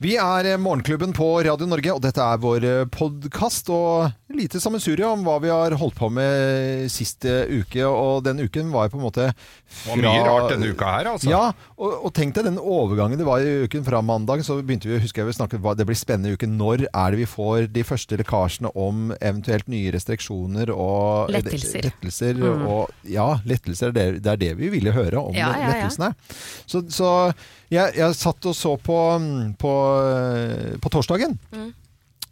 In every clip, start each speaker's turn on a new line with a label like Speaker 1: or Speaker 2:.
Speaker 1: Vi er eh, Morgenklubben på Radio Norge, og dette er vår podkast. Og lite sammensurie om hva vi har holdt på med sist eh, uke. Og den uken var på en måte fra
Speaker 2: var mye rart denne uka her, altså.
Speaker 1: Ja, og, og tenk deg den overgangen det var i uken fra mandag. Så begynte vi, husker jeg vi snakket hva det blir spennende uke. Når er det vi får de første lekkasjene om eventuelt nye restriksjoner og
Speaker 3: Lettelser. Mm.
Speaker 1: lettelser og, ja, lettelser. Det er det, er det vi ville høre om
Speaker 3: Ja, ja, ja.
Speaker 1: lettelsene. Så, så jeg, jeg satt og så på, på, på torsdagen.
Speaker 3: Mm.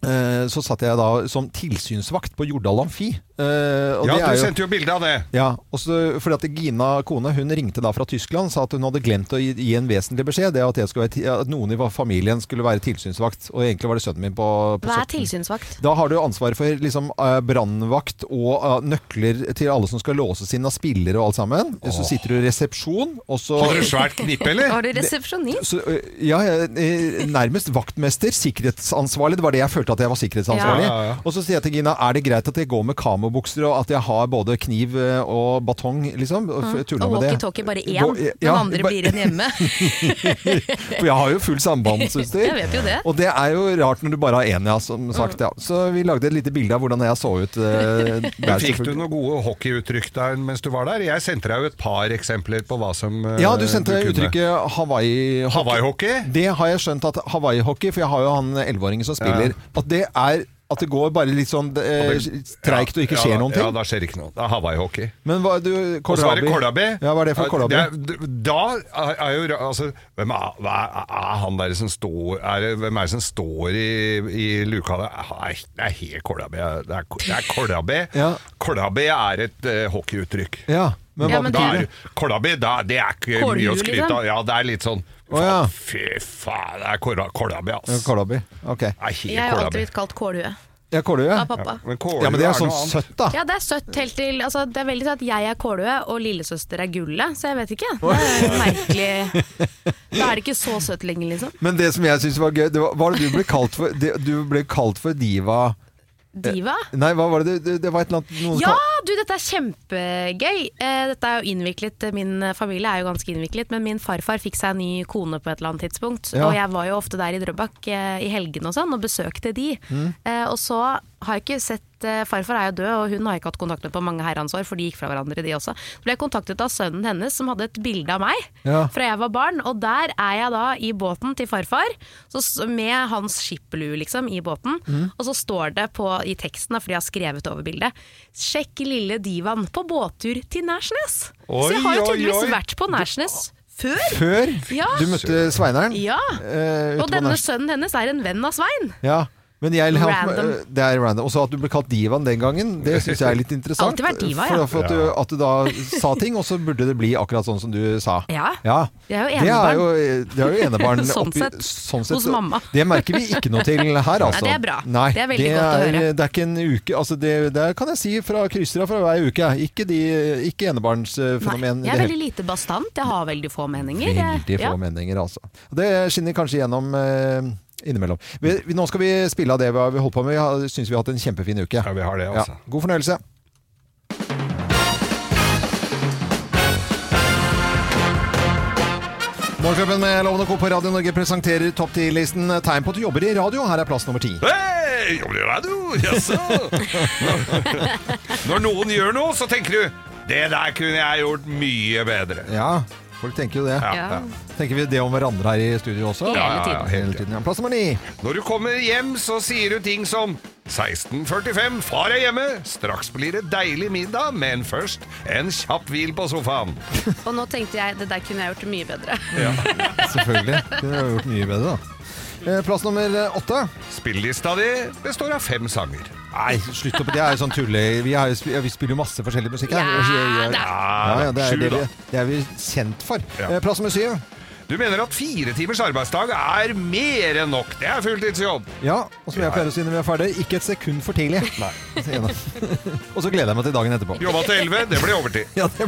Speaker 1: Eh, Så satt jeg da som tilsynsvakt på Jordal Amfi. Eh, og
Speaker 2: Ja,
Speaker 1: det er
Speaker 2: du
Speaker 1: jo-
Speaker 2: sendte jo bilde av det.
Speaker 1: ja, og så, fordi at Gina, kona, hun ringte da fra Tyskland sa at hun hadde glemt å gi, gi en vesentlig beskjed. Det at, jeg skulle være, ti- at noen i familien skulle være tilsynsvakt. Og egentlig var det sønnen min på, på
Speaker 3: Hva er
Speaker 1: 17.
Speaker 3: tilsynsvakt?
Speaker 1: Da har du ansvaret for liksom, eh, brannvakt og eh, nøkler til alle som skal låses inn av spillere og alt sammen. Så sitter du i resepsjon, og så
Speaker 2: Hadde du svært knippe, eller?
Speaker 3: Har du resepsjonist?
Speaker 1: så, øh, ja, jeg, eh, nærmest vaktmester, sikkerhetsansvarlig. Det var det jeg følte at jeg var sikkerhetsansvarlig.
Speaker 2: Ja, ja, ja.
Speaker 1: Og så sier jeg til Gina, er det greit at jeg går med kamobukser, og at jeg har både kniv eh, og batong, liksom? Og
Speaker 2: Mm.
Speaker 1: f- tulla
Speaker 3: Og
Speaker 1: med det.
Speaker 3: walkietalkie bare én,
Speaker 1: Gå-
Speaker 3: den
Speaker 1: ja,
Speaker 3: andre
Speaker 1: ba-
Speaker 3: blir en hjemme.
Speaker 1: For jeg har jo full sambandsutstyr.
Speaker 3: Jeg vet jo det.
Speaker 1: Og det er jo rart når du bare har én, ja, som sagt.
Speaker 2: Mm.
Speaker 1: Ja. Så vi lagde et lite bilde av hvordan jeg så ut. eh, der,
Speaker 2: Fikk du
Speaker 1: selvfølgelig.
Speaker 2: noen gode hockeyuttrykk der mens du var der? Jeg sendte deg jo et par eksempler på hva som eh,
Speaker 1: Ja, du sendte
Speaker 2: kunne.
Speaker 1: uttrykket Hawaii-hockey.
Speaker 2: Hawaii-hockey?
Speaker 1: Det har jeg skjønt at Hawaii-hockey, for jeg har jo han 11-åringen som spiller, at det er at det går bare litt sånn eh, treigt og ikke
Speaker 2: Ja,
Speaker 1: skjer
Speaker 2: ja,
Speaker 1: noen ting.
Speaker 2: Ja, da skjer ikke noe. Det er Hawaii-hockey.
Speaker 1: Men hva du
Speaker 2: Og så er det
Speaker 1: kålrabi.
Speaker 2: Kålabi.
Speaker 1: Ja, hva er det for kålrabi?
Speaker 2: er- Da er er jo ra- altså, hvem er, hva er, er han der som står er, det- Hvem er det som står i, i luka der? Nei, Det er helt kålabi. Det er, det er kålabi.
Speaker 1: Ja.
Speaker 2: Kålabi er et eh, hockeyuttrykk.
Speaker 1: Ja, men hva
Speaker 3: Ja, men
Speaker 2: Da
Speaker 1: betyr
Speaker 2: er,
Speaker 1: det?
Speaker 2: kålabi, da, det er ikke mye å
Speaker 3: Kålhjul,
Speaker 2: skryte
Speaker 3: liksom?
Speaker 2: av. Ja, det er litt sånn
Speaker 1: Å, ja.
Speaker 2: Fy faen, det er kåla- kålabi,
Speaker 1: Ja,
Speaker 2: ass.
Speaker 1: Kålrabi. Ok.
Speaker 2: Det er
Speaker 3: Jeg
Speaker 2: helt
Speaker 3: har
Speaker 2: kålabi.
Speaker 3: alltid blitt kalt kålhue
Speaker 1: Ja, kålhue.
Speaker 3: av pappa.
Speaker 2: Men kålhue
Speaker 1: Ja, men det er sånn
Speaker 2: noe annet.
Speaker 1: søtt, da.
Speaker 3: Ja, det er søtt helt til altså, Det er veldig søtt at jeg er kålhue og lillesøster er gullet, så jeg vet ikke. Det er merkelig Da er det ikke så søtt lenger, liksom.
Speaker 1: Men det som jeg syns var gøy, det var, var det du ble kalt for det, Du ble kalt for diva Eh,
Speaker 3: Diva.
Speaker 1: Nei, hva var det du- Det, det var et eller annet noen
Speaker 3: Ja,
Speaker 1: kal-
Speaker 3: du, dette er kjempegøy. Eh, Dette er jo innviklet, min familie er jo ganske innviklet, men min farfar fikk seg en ny kone på et eller annet tidspunkt.
Speaker 1: Ja.
Speaker 3: Og jeg var jo ofte der i Drøbak eh, i helgene og sånn, og besøkte de.
Speaker 1: Mm.
Speaker 3: Eh, Og så har jeg ikke sett eh, Farfar er jo død, og hun har jeg ikke hatt kontakt med på mange herrens år, for de gikk fra hverandre, de også. Så ble jeg kontaktet av sønnen hennes, som hadde et bilde av meg
Speaker 1: Ja.
Speaker 3: fra jeg var barn. Og der er jeg da i båten til farfar, så, s- med hans skipperlue liksom, i båten.
Speaker 1: Mm.
Speaker 3: Og så står det på, i teksten, da, for de har skrevet over bildet, 'Sjekk lille divaen på båttur til Nærsnes'.
Speaker 2: Oi,
Speaker 3: så jeg har jo
Speaker 2: oi,
Speaker 3: tydeligvis
Speaker 2: oi.
Speaker 3: vært på Nærsnes før.
Speaker 1: Før
Speaker 3: Ja.
Speaker 1: du møtte Sveineren.
Speaker 3: Ja.
Speaker 1: eh, ute
Speaker 3: Og
Speaker 1: på
Speaker 3: denne
Speaker 1: nach-
Speaker 3: sønnen hennes er en venn av Svein.
Speaker 1: Ja. Men jeg,
Speaker 3: Random.
Speaker 1: eh, Det er random. Og så at du ble kalt divaen den gangen, det syns jeg er litt interessant.
Speaker 3: Alltid vært diva,
Speaker 1: for,
Speaker 3: ja.
Speaker 1: for at, du, at du da sa ting, og så burde det bli akkurat sånn som du sa.
Speaker 3: Ja.
Speaker 1: Ja.
Speaker 3: Jeg er jo
Speaker 1: Det
Speaker 3: enebarn.
Speaker 1: er jo, eh, det er jo enebarn
Speaker 3: Sånn
Speaker 1: oppi-
Speaker 3: sett.
Speaker 1: sånn sett,
Speaker 3: Hos
Speaker 1: så-
Speaker 3: mamma.
Speaker 1: Det merker vi ikke noe til her, altså.
Speaker 3: det er bra.
Speaker 1: Nei,
Speaker 3: Det er veldig godt å
Speaker 1: er-
Speaker 3: høre.
Speaker 1: Det er ikke en uke altså det, det kan jeg si fra kryssere fra hver uke. Ikke, de, ikke
Speaker 3: Nei,
Speaker 1: enebarnsfenomen. i
Speaker 3: jeg er
Speaker 1: det
Speaker 3: veldig lite bastant, jeg har veldig få meninger. Jeg-
Speaker 1: Veldig få
Speaker 3: ja.
Speaker 1: meninger, altså. Det skinner kanskje gjennom eh, innimellom. Vi, vi, nå skal vi spille av det vi har vi har holdt på med. Jeg syns vi har hatt en kjempefin uke.
Speaker 2: Ja, vi har det, altså.
Speaker 1: God fornøyelse. Morgenklubben med Loven og Co. på Radio Norge presenterer topp 10-listen Tegn på at du jobber i radio. Her er plass nummer ti.
Speaker 2: Hei, jobber du i radio? Jaså? Når noen gjør noe, så tenker du Det der kunne jeg gjort mye bedre.
Speaker 1: Ja, folk tenker jo det.
Speaker 3: Ja.
Speaker 1: Tenker vi det om hverandre her i studio også?
Speaker 3: Ja, ja, ja,
Speaker 2: helt
Speaker 1: Hele tiden, ja. Plass nummer ni.
Speaker 2: Når du kommer hjem, så sier du ting som 16.45, far er hjemme. Straks blir det deilig middag, men først en kjapp hvil på sofaen.
Speaker 3: Og nå tenkte jeg det der kunne jeg gjort mye bedre.
Speaker 1: Selvfølgelig. Kunne jo gjort mye bedre, da. Eh, Plass nummer eh, åtte.
Speaker 2: Spillelista di består av fem sanger.
Speaker 1: Nei, slutt opp. Det er jo sånn tulle... Vi, er jo, sp- ja, vi spiller jo masse forskjellig musikk her.
Speaker 3: Ja, da.
Speaker 1: Ja, ja, det er
Speaker 2: Sju,
Speaker 1: det vi,
Speaker 2: da.
Speaker 1: det er vi kjent for.
Speaker 2: Ja.
Speaker 1: Eh, Plass nummer syv.
Speaker 2: Du mener at fire timers arbeidsdag er mer enn nok. Det er fulltidsjobb.
Speaker 1: Ja, og som jeg pleier å si når vi er ferdig, ikke et sekund for tidlig. Nei. og så gleder jeg meg til dagen etterpå.
Speaker 2: Jobba til elleve, det blir overtid.
Speaker 1: Ja, det,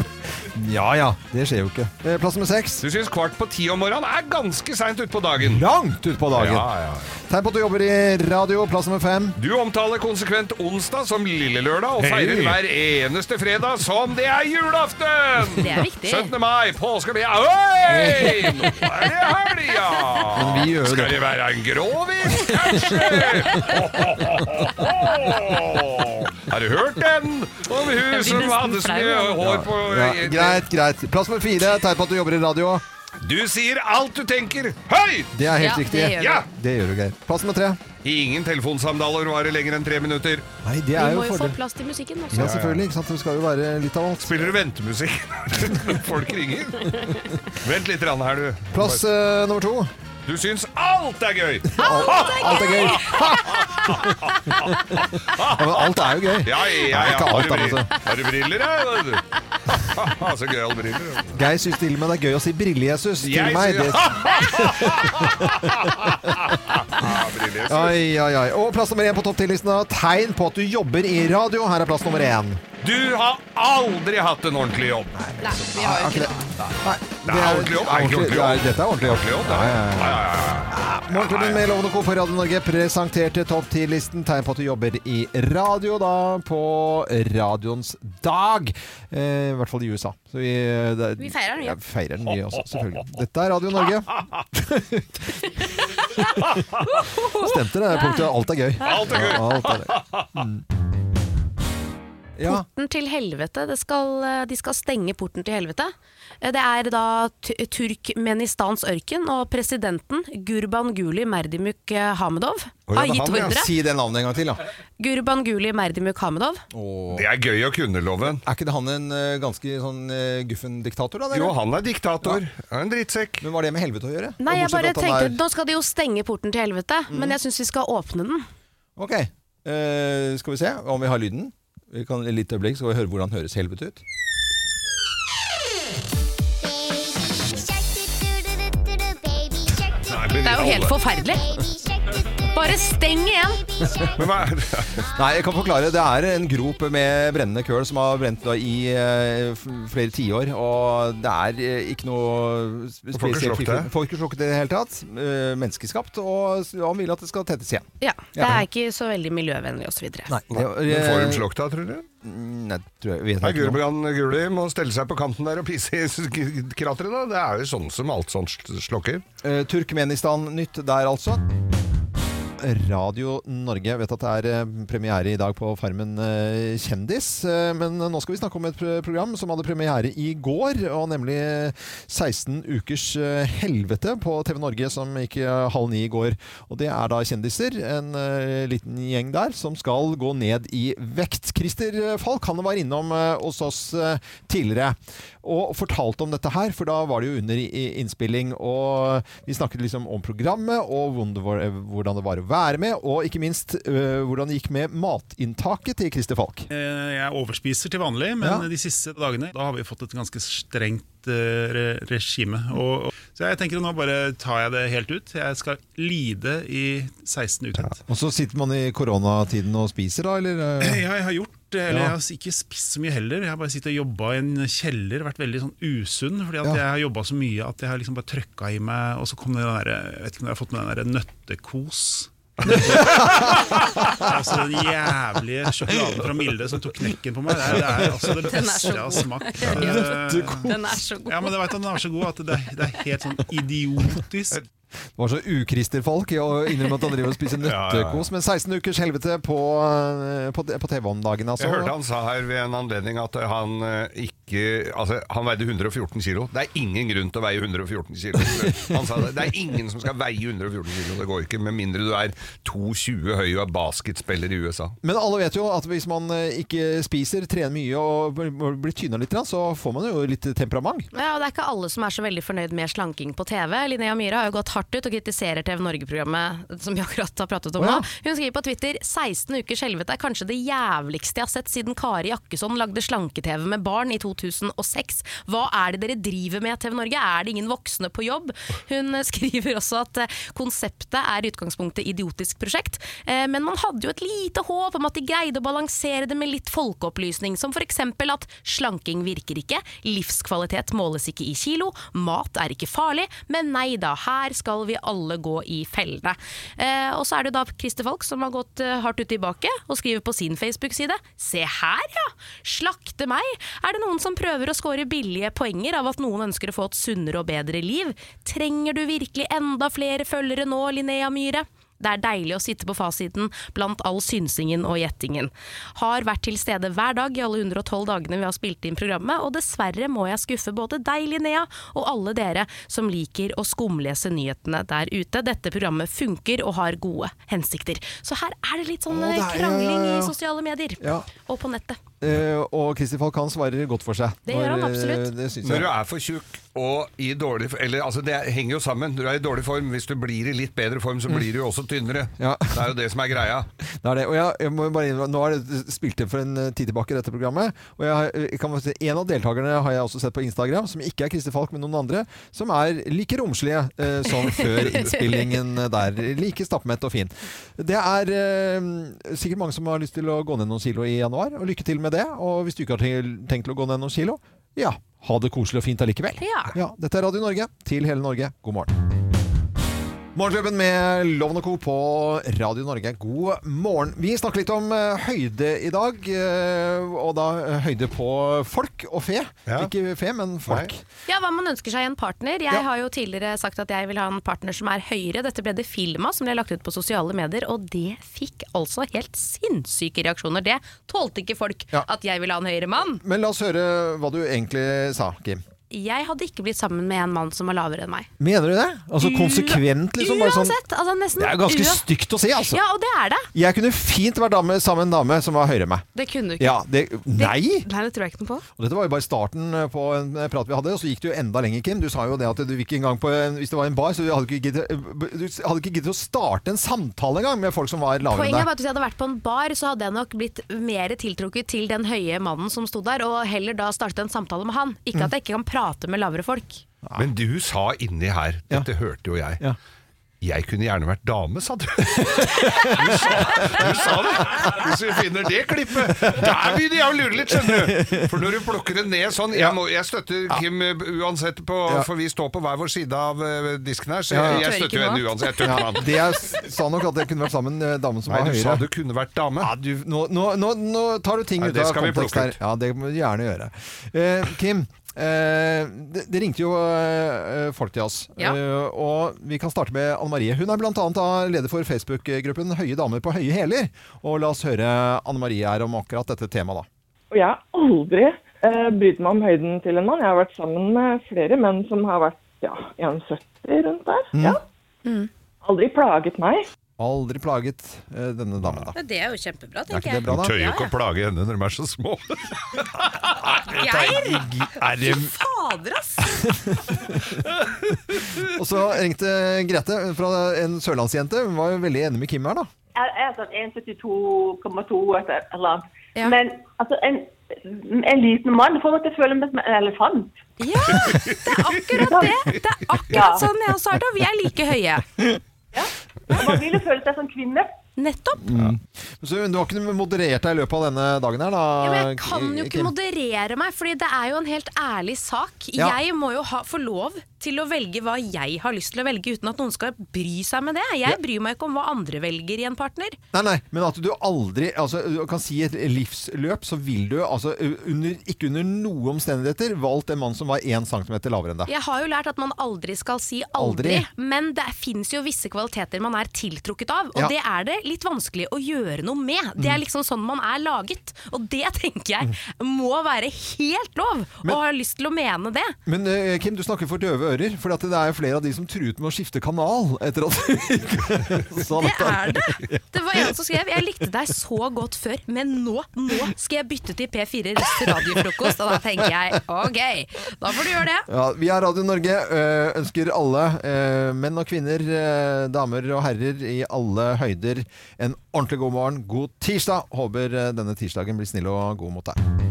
Speaker 1: ja, ja, det skjer jo ikke. Eh, Plass nummer seks.
Speaker 2: Du syns kvart på ti om morgenen er ganske seint utpå dagen.
Speaker 1: Langt utpå dagen.
Speaker 2: Ja, ja.
Speaker 1: Tegn på at du jobber i radio. Plass nummer fem.
Speaker 2: Du omtaler konsekvent onsdag som lille lørdag og
Speaker 1: Hei.
Speaker 2: feirer hver eneste fredag som det er julaften!
Speaker 3: Det er viktig.
Speaker 2: 17. mai, påske blir Oi! Hva er det helga?
Speaker 1: Men vi gjør jo
Speaker 2: Skal
Speaker 1: det.
Speaker 2: det være en grovis, kanskje? Ho-ho-ho-ho! Har du hørt den? Om hun som
Speaker 3: nesten
Speaker 2: hadde så mye
Speaker 3: flau,
Speaker 2: hår på eh,
Speaker 1: Ja, greit, greit. Plass nummer fire. Tegn på at du jobber i radio.
Speaker 2: Du sier alt du tenker høyt!
Speaker 1: Det er helt
Speaker 3: Ja,
Speaker 1: riktig.
Speaker 3: det gjør vi.
Speaker 2: Ja!
Speaker 1: Det gjør du, Geir. Plass nummer tre.
Speaker 2: Ingen telefonsamtaler varer lenger enn tre minutter.
Speaker 1: Nei, det
Speaker 3: Vi
Speaker 1: er jo
Speaker 3: må jo få
Speaker 1: fordel.
Speaker 3: plass til musikken også.
Speaker 1: Ja, selvfølgelig. Ikke sant? Det skal jo være litt av alt.
Speaker 2: Spiller du ventemusikk når folk ringer? Vent litt rann her, du.
Speaker 1: Plass eh, nummer to.
Speaker 2: Du syns alt er gøy!
Speaker 1: Alt er gøy. ja, men alt er jo gøy.
Speaker 2: Ja, ja,
Speaker 1: Nei,
Speaker 2: ja.
Speaker 1: ikke
Speaker 2: Har
Speaker 1: alt,
Speaker 2: du briller,
Speaker 1: altså.
Speaker 2: har du briller ja? Ha, Så gøyale briller.
Speaker 1: Geir syns til og med det er gøy å si Brille-Jesus til
Speaker 2: Jeg
Speaker 1: meg.
Speaker 2: sier-
Speaker 1: Det,
Speaker 2: Ja, briller.
Speaker 1: Oi, oi, oi. Og plass nummer én på topp 10-listen er tegn på at du jobber i radio. Her er plass nummer én.
Speaker 2: Du har aldri hatt en ordentlig jobb.
Speaker 3: Nei, vi har jo
Speaker 1: Er ikke
Speaker 3: ikke
Speaker 1: det?
Speaker 3: det.
Speaker 1: Nei,
Speaker 2: Det er ordentlig jobb. Er ikke ordentlig
Speaker 1: det
Speaker 2: jobb.
Speaker 1: er- Dette er ordentlig jobb.
Speaker 2: Ordentlig jobb, da.
Speaker 1: Ja, ja, ja.
Speaker 2: Ja, ja, ja.
Speaker 1: Morgenklubben med Lovende Co. på Radio Norge presenterte topp 10-listen tegn på at du jobber i radio da på radioens dag. Eh, I hvert fall i USA. Så vi, eh, det,
Speaker 3: Vi feirer den, ja.
Speaker 1: ja. Feirer den, vi også, selvfølgelig. Dette er Radio Norge. Stemte det punktet. Alt er gøy.
Speaker 2: Alt er gøy.
Speaker 1: Ja, alt er gøy. Mm. Ja.
Speaker 3: Porten til helvete, det skal, eh, de skal stenge porten til helvete. Eh, Det er da T- Turkmenistans ørken, og presidenten Gurbanguly Merdimuk eh, Hamedov
Speaker 2: ja,
Speaker 3: har
Speaker 2: det er
Speaker 3: gitt
Speaker 2: han, ja.
Speaker 3: ordre.
Speaker 1: Si det navnet en gang til, da.
Speaker 3: Gurbanguly Merdimuk Hamedov.
Speaker 2: Det er gøy å kunne loven.
Speaker 1: Er ikke det han en eh, ganske sånn eh, guffen diktator, da? dere?
Speaker 2: Jo, han er diktator. Han er En drittsekk.
Speaker 1: Men hva har det med helvete å gjøre?
Speaker 3: Nei,
Speaker 1: Bortsett
Speaker 3: jeg
Speaker 1: fra
Speaker 3: bare
Speaker 1: at han
Speaker 3: tenkte,
Speaker 1: er-
Speaker 3: nå skal de jo stenge porten til helvete, men jeg syns vi skal åpne den.
Speaker 1: Ok, eh, skal vi se om vi har lyden. Vi kan et lite øyeblikk, så skal vi høre hvordan høres helvete ut.
Speaker 2: Nei,
Speaker 3: Det er jo helt
Speaker 2: alle-
Speaker 3: forferdelig. Bare steng igjen!
Speaker 2: Men hva er det?
Speaker 1: Nei, jeg kan forklare. Det er en grop med brennende køl som har brent da i eh, f- flere tiår. Og det er eh, ikke noe sp-
Speaker 2: Og folk har
Speaker 1: spesielt-
Speaker 2: slukket det?
Speaker 1: Folk har slukket det i det hele tatt. Eh, menneskeskapt. Og s- han vil at det skal tettes igjen.
Speaker 3: Ja, det
Speaker 1: Ja.
Speaker 3: er ikke så veldig miljøvennlig osv.
Speaker 1: Nei,
Speaker 2: Men får de slokk da, tror du?
Speaker 1: Nei, tror jeg, vet
Speaker 2: Nei,
Speaker 1: jeg ikke noe.
Speaker 2: Gulbrand Guli må stelle seg på kanten der og pisse i sk- krateret, da. Det er jo sånn som alt sånt sl- slokker.
Speaker 1: Eh, Turkmenistan-nytt der, altså. Radio Norge vet at det er eh, premiere i dag på Farmen eh, kjendis. eh, Men nå skal vi snakke om et pr- program som hadde premiere i går, og nemlig eh, 16 ukers eh, helvete på TV Norge som gikk eh, halv ni i går. Og det er da kjendiser, en eh, liten gjeng der, som skal gå ned i vekt. Christer Falk han var innom eh, hos oss eh, tidligere og fortalte om dette her, for da var det jo under i- i innspilling. Og vi snakket liksom om programmet og hvordan det var, eh, hvordan det var å være med, og ikke minst øh, hvordan det gikk med matinntaket til Christer Falk.
Speaker 4: Eh, Jeg overspiser til vanlig, men
Speaker 1: Ja.
Speaker 4: de siste dagene da har vi fått et ganske strengt eh, re regime. Og, og, så jeg tenker nå bare tar jeg det helt ut. Jeg skal lide i 16 uker.
Speaker 1: Og så sitter man i koronatiden og spiser, da, eller? øh?
Speaker 4: Jeg har gjort det, eller
Speaker 1: Ja.
Speaker 4: jeg har ikke spist så mye heller. Jeg har bare sittet og jobba i en kjeller, vært veldig sånn usunn. Fordi at
Speaker 1: Ja.
Speaker 4: jeg har jobba så mye at jeg har liksom bare trøkka i meg, og så kom det den derre Jeg vet ikke om dere har fått med den derre nøttekos. altså Den jævlige sjokoladen fra Milde som tok knekken på meg. Det er, det er altså det
Speaker 3: er
Speaker 4: beste
Speaker 3: så
Speaker 4: jeg har
Speaker 3: god.
Speaker 4: smakt.
Speaker 3: Den er så god.
Speaker 4: Ja, men du vet, at Den er så god at det er, det er helt sånn idiotisk.
Speaker 1: Det var så u-Christer Falk i å innrømme at han driver og spiser
Speaker 2: Ja, ja, ja.
Speaker 1: nøttekos. Men 16 ukers helvete på, øh, på, på TV om dagen, altså.
Speaker 2: Jeg hørte han sa her ved en anledning at han eh, ikke Altså, han veide 114 kilo. Det er ingen grunn til å veie 114 kilo. Han sa det. Det er ingen som skal veie 114 kilo. Det går ikke, med mindre du er 2,20 høy og er basketspiller i USA.
Speaker 1: Men alle vet jo at hvis man øh, ikke spiser, trener mye og bl- blir tynna litt, så får man jo litt temperament.
Speaker 3: Ja, og Det er ikke alle som er så veldig fornøyd med slanking på TV. Linnea Myhre har jo gått hardt ut og kritiserer TV Norge-programmet som vi akkurat har pratet om
Speaker 1: Å, ja.
Speaker 3: nå. Hun skriver på Twitter 16 ukers helvete er kanskje det jævligste jeg har sett siden Kari Jakkesson lagde slanke-TV med barn i 2006. Hva er det dere driver med, TV Norge? Er det ingen voksne på jobb? Hun eh, skriver også at eh, konseptet er i utgangspunktet idiotisk prosjekt, eh, men man hadde jo et lite håp om at de greide å balansere det med litt folkeopplysning, som f.eks. at slanking virker ikke, livskvalitet måles ikke i kilo, mat er ikke farlig, men nei da, her skal vi alle gå i fellene. Eh, og så er det da Christer Falk som har gått eh, hardt ut tilbake og skriver på sin Facebook-side Se her, ja! Slakte meg! Er det noen som prøver å score billige poenger av at noen ønsker å få et sunnere og bedre liv? Trenger du virkelig enda flere følgere nå, Linnea Myhre? Det er deilig å sitte på fasiten blant all synsingen og gjettingen. Har vært til stede hver dag i alle 112 dagene vi har spilt inn programmet, og dessverre må jeg skuffe både deg, Linnea, og alle dere som liker å skumlese nyhetene der ute. Dette programmet funker og har gode hensikter. Så her er det litt sånn
Speaker 1: Å, det er-
Speaker 3: krangling
Speaker 1: ja, ja, ja.
Speaker 3: i sosiale medier.
Speaker 1: Ja.
Speaker 3: Og på nettet.
Speaker 1: Eh, og Kristi Falk han svarer godt for seg.
Speaker 3: Det gjør han
Speaker 1: Når, eh,
Speaker 3: absolutt.
Speaker 1: Det synes
Speaker 2: Når du
Speaker 1: jeg.
Speaker 2: er for tjukk og i dårlig Eller altså, det henger jo sammen. Når du er i dårlig form, hvis du blir i litt bedre form, så blir du jo også tynnere.
Speaker 1: Ja.
Speaker 2: Det er jo det som er greia.
Speaker 1: Det er det. Og jeg, jeg må bare innrømme, nå er det spilt inn for en eh, tid tilbake, dette programmet. Og jeg, har- jeg kan bare si, en av deltakerne har jeg også sett på Instagram, som ikke er Kristi Falk, men noen andre, som er like romslige eh, som før innspillingen der. Like stappmett og fin. Det er eh, sikkert mange som har lyst til å gå ned noen kilo i januar, og lykke til med det. Og hvis du ikke har til- tenkt til å gå ned noen kilo, ja, ha det koselig og fint allikevel.
Speaker 3: Ja.
Speaker 1: Ja, dette er Radio Norge, til hele Norge. God morgen. Morgenklubben med Loven og Co. på Radio Norge, god morgen. Vi snakker litt om eh, høyde i dag, eh, og da eh, høyde på folk og fe.
Speaker 2: Ja.
Speaker 1: Ikke fe, men folk.
Speaker 3: Ja, hva man ønsker seg i en partner. Jeg
Speaker 1: Ja.
Speaker 3: har jo tidligere sagt at jeg vil ha en partner som er høyere. Dette ble det film av, som ble lagt ut på sosiale medier, og det fikk altså helt sinnssyke reaksjoner. Det tålte ikke folk,
Speaker 1: Ja.
Speaker 3: at jeg ville ha en høyere mann.
Speaker 1: Men la oss høre hva du egentlig sa, Kim.
Speaker 3: Jeg hadde ikke blitt sammen med en mann som var lavere enn meg.
Speaker 1: Mener du det? Altså konsekvent, liksom? Bare sånn,
Speaker 3: Uansett, altså nesten.
Speaker 1: det er jo ganske
Speaker 3: ua-
Speaker 1: stygt å si, altså.
Speaker 3: Ja, og det er det.
Speaker 1: Jeg kunne fint vært dame, sammen med en dame som var høyere enn meg.
Speaker 3: Det kunne du ikke.
Speaker 1: Ja, det, nei!
Speaker 3: Nei, det tror jeg ikke noe på.
Speaker 1: Og dette var jo bare starten eh, på en prat vi hadde, og så gikk det jo enda lenger, Kim. Du sa jo det at du ikke engang på en, Hvis det var en bar, så hadde du ikke giddet- eh, du hadde ikke giddet å starte en samtale engang med folk som var lavere
Speaker 3: Poenget
Speaker 1: enn
Speaker 3: var
Speaker 1: deg.
Speaker 3: at Hvis jeg hadde vært på en bar, så hadde jeg nok blitt mer tiltrukket til den høye mannen som sto der, og heller da startet en samtale med han.
Speaker 1: Mm.
Speaker 3: Ikke at jeg ikke kan prate med lavere folk.
Speaker 2: Men du sa inni her, dette hørte jo jeg
Speaker 1: Ja.
Speaker 2: Jeg kunne gjerne vært dame, sa du. Du sa, du sa det! Hvis vi finner det klippet. Der begynner jeg å lure litt, skjønner du. For når du plukker det ned sånn Jeg, må, jeg støtter Kim eh, uansett, på,
Speaker 1: Ja.
Speaker 2: for vi står på hver vår side av eh, disken her, så
Speaker 1: Ja, ja.
Speaker 2: jeg, jeg
Speaker 3: Tør ikke
Speaker 2: støtter jo
Speaker 3: noe
Speaker 2: henne uansett. Jeg tør ikke noe annet.
Speaker 1: Det jeg s- sa nok at jeg kunne vært sammen med en dame som
Speaker 2: Nei,
Speaker 1: var
Speaker 2: du sa
Speaker 1: høyere.
Speaker 2: du kunne vært dame.
Speaker 1: Ja, du, nå, nå, nå, nå tar du ting
Speaker 2: Nei,
Speaker 1: ut
Speaker 2: det
Speaker 1: av
Speaker 2: skal vi
Speaker 1: kontekst
Speaker 2: plukke
Speaker 1: her.
Speaker 2: ut.
Speaker 1: Ja, det må du gjerne gjøre. Eh, Kim, eh, det, det ringte jo eh, folk til oss.
Speaker 3: Ja.
Speaker 1: Eh, og vi kan starte med Anne Marie. Hun er bl.a. leder for Facebook-gruppen Høye damer på høye hæler. Og la oss høre Anne Marie her om akkurat dette temaet, da.
Speaker 5: Og jeg har aldri eh, brydd meg om høyden til en mann. Jeg har vært sammen med flere menn som har vært ja, 1,70 rundt der. Ja. Aldri plaget meg.
Speaker 1: Aldri plaget eh, denne damen, da.
Speaker 3: Det er jo kjempebra,
Speaker 1: Er ikke det bra,
Speaker 2: Du
Speaker 1: da?
Speaker 2: tør jo ikke å plage henne når de er så små.
Speaker 3: Geir!
Speaker 2: Er det
Speaker 3: Fader, ass!
Speaker 1: Og så ringte Grete, fra en sørlandsjente. Hun var jo veldig enig med Kim her, da.
Speaker 6: Jeg er sånn 1,72,2 et eller annet.
Speaker 3: Ja.
Speaker 6: Men altså, en, en liten mann får meg til å føle meg som en elefant.
Speaker 3: Ja, det er akkurat det! Det er
Speaker 6: Ja.
Speaker 3: akkurat sånn jeg også har det, og vi er like høye.
Speaker 6: Man vil jo føle seg som kvinne.
Speaker 3: Nettopp.
Speaker 1: Så du har ikke moderert deg i løpet av denne dagen her, da?
Speaker 3: Ja, men jeg kan jo ikke
Speaker 1: Kim?
Speaker 3: moderere meg, Fordi det er jo en helt ærlig sak.
Speaker 1: Ja.
Speaker 3: Jeg må jo ha, få lov til å velge hva jeg har lyst til å velge, uten at noen skal bry seg med det. Jeg bryr meg ikke om hva andre velger i en partner.
Speaker 1: Nei, nei, men at du aldri altså, du kan si et livsløp, så vil du altså, under, ikke under noen omstendigheter valgt en mann som var én centimeter lavere enn deg.
Speaker 3: Jeg har jo lært at man aldri skal si aldri,
Speaker 1: Aldri.
Speaker 3: men det fins jo visse kvaliteter man er tiltrukket av, og
Speaker 1: Ja. Mm.
Speaker 3: det er det litt vanskelig å gjøre noe med. Det er liksom sånn man er laget, og det tenker jeg må være helt lov,
Speaker 1: Men-
Speaker 3: og har lyst til å mene det.
Speaker 1: Men eh, Kim, du snakker for døve ører, for at det er jo flere av de som truet med å skifte kanal etter at Sa
Speaker 3: Det
Speaker 1: dette.
Speaker 3: er det! Det var en som skrev 'Jeg likte deg så godt før, men nå, nå skal jeg bytte til P4 Rest til radiofrokost'. Og da tenker jeg ok, da får du gjøre det.
Speaker 1: Ja, vi er Radio Norge. eh, ønsker alle, eh, menn og kvinner, eh, damer og herrer i alle høyder, en ordentlig god morgen. God tirsdag! Håper eh, denne tirsdagen blir snill og god mot deg.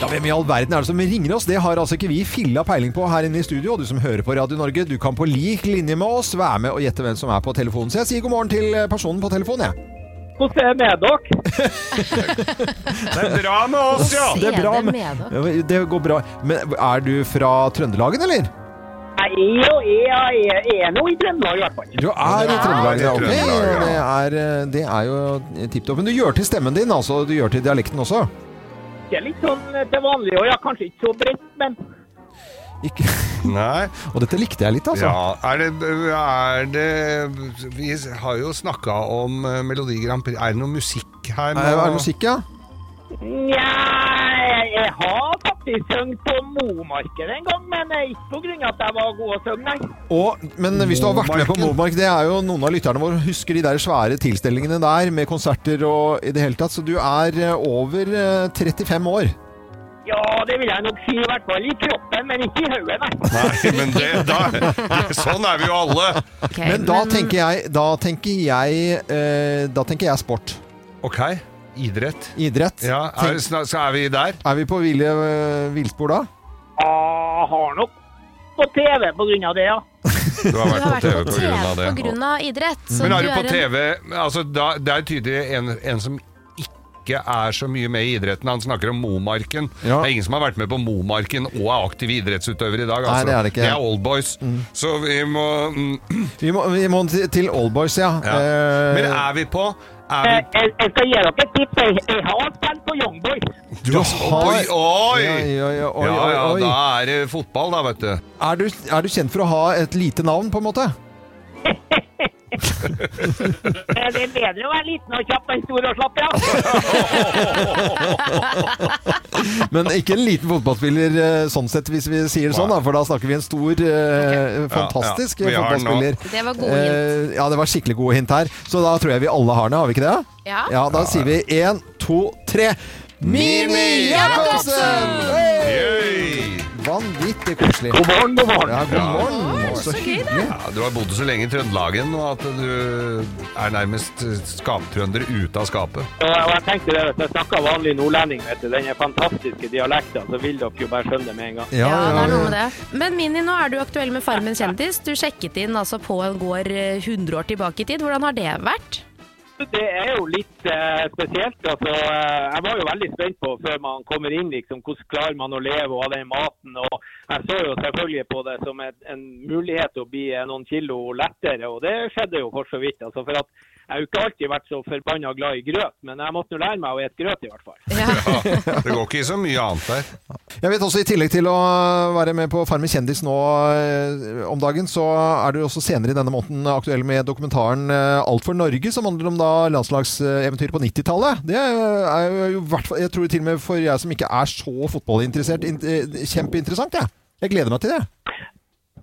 Speaker 1: Ja, Hvem i all verden er det som ringer oss? Det har altså ikke vi filla peiling på her inne i studio. Og du som hører på Radio Norge, du kan eh, på lik linje med oss være med og gjette hvem som er på telefonen. Så jeg sier god morgen til personen på telefonen, jeg.
Speaker 5: Hvordan er det med dere?
Speaker 2: Det er bra med oss, ja!
Speaker 1: Det er bra.
Speaker 3: Sede
Speaker 1: Men,
Speaker 3: Medok.
Speaker 1: det går bra. Men er du fra Trøndelagen, eller?
Speaker 5: Jeg er jo- jeg er- jeg er nå i Trøndelag, i hvert fall.
Speaker 1: Du er i Trøndelag, ja.
Speaker 2: Ja, det er
Speaker 1: ok.
Speaker 2: Trøndelag,
Speaker 1: Det er, eh, det er jo tipp topp. Men du gjør til stemmen din, altså. Du gjør til dialekten også.
Speaker 5: Det er litt sånn eh, til vanlig, og ja, kanskje ikke så bredt, men
Speaker 1: Ikke.
Speaker 2: Nei.
Speaker 1: Og dette likte jeg litt, altså.
Speaker 2: Ja, er det, er det Vi har jo snakka om eh, Melodi Grand Prix. Er det noe musikk her?
Speaker 1: Er, er det musikk, ja?
Speaker 5: Nja, jeg- jeg har faktisk sunget på Momarkedet en gang, men eh, ikke på grunn av at jeg var god å synge, nei.
Speaker 1: Og, men hvis du har vært med på Momark, det er jo noen av lytterne våre husker de der svære tilstelningene der med konserter og i det hele tatt, så du er eh, over eh, 35 år.
Speaker 5: Ja, det vil jeg nok si, i hvert fall i kroppen, men ikke i hodet, nei.
Speaker 2: Nei, men det, da, sånn er vi jo alle.
Speaker 3: Ok,
Speaker 2: Eh,
Speaker 1: Men da tenker jeg, da tenker jeg, eh, da tenker jeg sport.
Speaker 2: Ok, idrett.
Speaker 1: Idrett.
Speaker 2: Ja, er,
Speaker 1: Tenk,
Speaker 2: snak- så er vi der.
Speaker 1: er vi på ville, eh, villspor da?
Speaker 5: Jeg har nok på TV på grunn av det, ja.
Speaker 2: Du har
Speaker 3: Du har vært på
Speaker 2: på
Speaker 3: TV
Speaker 2: grunn av det.
Speaker 3: på grunn av idrett. så
Speaker 2: Men er du på
Speaker 3: en-
Speaker 2: TV altså, da, Det er tydelig en, en som ikke er så mye med i idretten. Han snakker om Momarken.
Speaker 1: Ja.
Speaker 2: Det er ingen som har vært med på Momarken og er aktive idrettsutøvere i dag.
Speaker 1: Nei,
Speaker 2: Altså.
Speaker 1: det er det ikke.
Speaker 2: er oldboys. Så vi må mm,
Speaker 1: Vi må, vi må til- til Oldboys, ja.
Speaker 2: ja.
Speaker 1: Eh,
Speaker 2: Men er vi på er vi
Speaker 5: Jeg, Eh, jeg, jeg skal gi dere et tips. Jeg, jeg har spilt på Eh, Young Boys.
Speaker 1: du har-
Speaker 2: Oi,
Speaker 1: Oi,
Speaker 2: oi!
Speaker 1: oi, oi,
Speaker 2: ja, ja,
Speaker 1: oi, oi.
Speaker 2: da er det fotball, da, vet du.
Speaker 1: Er du, er du kjent for å ha et lite navn, på en måte?
Speaker 5: Eh, Det er bedre å være liten og kjapp enn stor og slapp, ja.
Speaker 1: Men ikke en liten fotballspiller eh, sånn sett, hvis vi sier det sånn, da, for da snakker vi en stor, eh, fantastisk
Speaker 2: Ja, ja. Vi har den nå.
Speaker 1: fotballspiller.
Speaker 3: Det var gode hint.
Speaker 1: Eh, ja, det var skikkelig gode hint her. Så da tror jeg vi alle har den, har vi ikke det?
Speaker 3: Ja.
Speaker 1: ja da sier vi én, to, tre. Mini Jacobsen! Hey!
Speaker 2: Yay!
Speaker 1: Vanvittig koselig.
Speaker 5: God morgen, god morgen.
Speaker 1: Ja, god
Speaker 2: Ja.
Speaker 1: morgen.
Speaker 3: så gøy, da.
Speaker 1: hyggelig.
Speaker 2: Ja, du har bodd så lenge i Trøndelagen nå at du er nærmest skaptrønder ute av skapet.
Speaker 5: Og jeg jeg tenkte det, hvis jeg snakker vanlig nordlending, vet du, den er fantastiske dialekten, så vil dere jo bare skjønne det med en gang.
Speaker 1: Ja,
Speaker 3: Ja,
Speaker 1: ja,
Speaker 3: det er noe med
Speaker 1: ja.
Speaker 3: det. Men Mini, nå er du aktuell med Farmen kjendis. Du sjekket inn altså, på en gård eh, 100 år tilbake i tid. Hvordan har det vært?
Speaker 5: Det er jo litt eh, spesielt. altså. Eh, Jeg var jo veldig spent på før man kommer inn, liksom, hvordan klarer man å leve og ha den maten. og Jeg så jo selvfølgelig på det som et, en mulighet til å bli eh, noen kilo lettere, og det skjedde jo for så vidt. altså, for at Jeg har jo ikke alltid vært så forbanna glad i grøt, men jeg måtte nå lære meg å spise grøt i hvert fall.
Speaker 2: Ja, det går ikke i så mye annet der.
Speaker 1: Jeg vet også, I tillegg til å være med på Farmen kjendis nå eh, om dagen, så er du også senere i denne måneden aktuell med dokumentaren eh, Alt for Norge, som handler om da landslagseventyret på 90-tallet. Det er jo i hvert fall Jeg tror til og med for jeg som ikke er så fotballinteressert, in- eh, kjempeinteressant, jeg. Jeg gleder meg til det.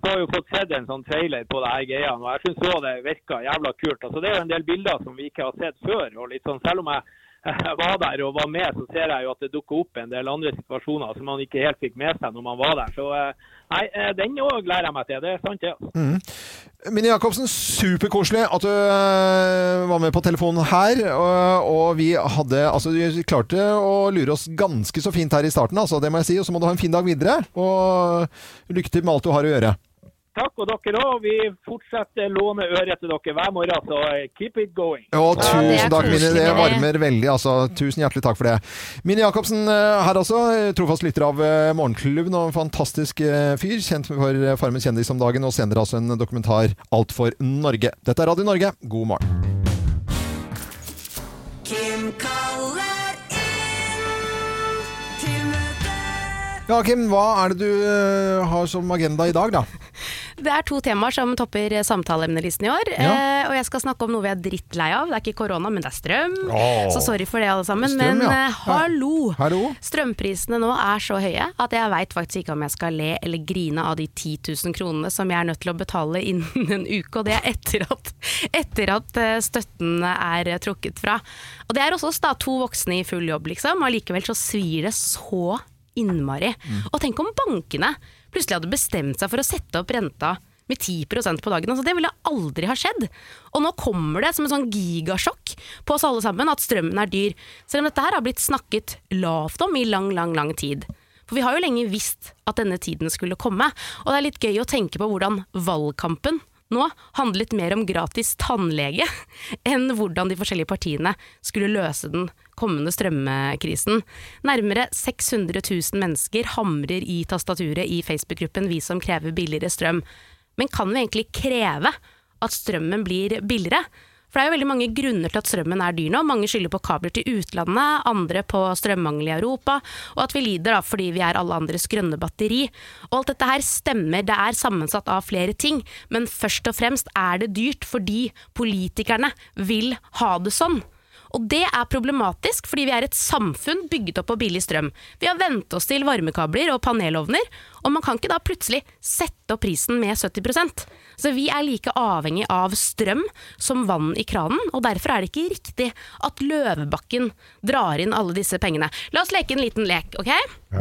Speaker 5: Jeg har jo fått sett en sånn trailer på det her greia, og jeg syns òg det virka jævla kult. Altså, det er jo en del bilder som vi ikke har sett før. og litt sånn, Selv om jeg var der og var med, så ser jeg jo at det dukker opp en del andre situasjoner som man ikke helt fikk med seg når man var der. Så eh, nei, eh, den òg gleder jeg meg til. Det er sant, det. altså.
Speaker 1: Mini Jacobsen, superkoselig at du eh, var med på telefonen her. Og, og vi hadde Altså, du klarte å lure oss ganske så fint her i starten, altså. Det må jeg si. Og så må du ha en fin dag videre. Og lykke til med alt du har å gjøre.
Speaker 5: Takk og dere òg. Vi fortsetter låne øret til dere hver morgen, så eh, keep it going.
Speaker 1: Og
Speaker 3: Ja, det er
Speaker 1: tusen takk, Mini.
Speaker 3: koselig.
Speaker 1: Det varmer veldig, altså. Tusen hjertelig takk for det. Mini Jacobsen eh, her også, eh, trofast lytter av eh, Morgenklubben og en fantastisk eh, fyr. Kjent for eh, Farmen kjendis om dagen, og senere altså en dokumentar Alt for Norge. Dette er Radio Norge, god morgen.
Speaker 7: Kim kaller inn til møte.
Speaker 1: Ja, Kim, hva er det du eh, har som agenda i dag, da?
Speaker 3: Det er to temaer som topper eh, samtaleemnelisten i år. Eh, og jeg skal snakke om noe vi er drittlei av. Det er ikke korona, men det er strøm.
Speaker 2: Åh.
Speaker 3: Så sorry for det, alle sammen.
Speaker 1: Strøm,
Speaker 3: men
Speaker 1: ja.
Speaker 3: eh, hallo!
Speaker 1: Hallo.
Speaker 3: Strømprisene nå er så høye at jeg veit faktisk ikke om jeg skal le eller grine av de 10 000 kronene som jeg er nødt til å betale innen en uke. Og det er etter at, etter at eh, støtten er eh, trukket fra. Og det er også oss, da. To voksne i full jobb, liksom. Og likevel så svir det så innmari. Og tenk om bankene plutselig hadde bestemt seg for å sette opp renta med 10 på dagen. Altså, det ville aldri ha skjedd. Og nå kommer det som en sånn gigasjokk på oss alle sammen at strømmen er dyr. Selv om dette her har blitt snakket lavt om i lang, lang, lang tid. For vi har jo lenge visst at denne tiden skulle komme. Og det er litt gøy å tenke på hvordan valgkampen nå handlet mer om gratis tannlege enn hvordan de forskjellige partiene skulle løse den kommende strømkrisen. Nærmere 600 000 mennesker hamrer i tastaturet i Facebook-gruppen Vi som krever billigere strøm. Men kan vi egentlig kreve at strømmen blir billigere? For det er jo veldig mange grunner til at strømmen er dyr nå. Mange skylder på kabler til utlandet, andre på strømmangel i Europa, og at vi lider da fordi vi er alle andres grønne batteri. Og alt dette her stemmer, det er sammensatt av flere ting, men først og fremst er det dyrt fordi politikerne vil ha det sånn. Og det er problematisk, fordi vi er et samfunn bygget opp på billig strøm. Vi har vent oss til varmekabler og panelovner, og man kan ikke da plutselig sette opp prisen med 70 Så vi er like avhengig av strøm som vann i kranen, og derfor er det ikke riktig at Løvebakken drar inn alle disse pengene. La oss leke en liten lek, OK?
Speaker 1: Vi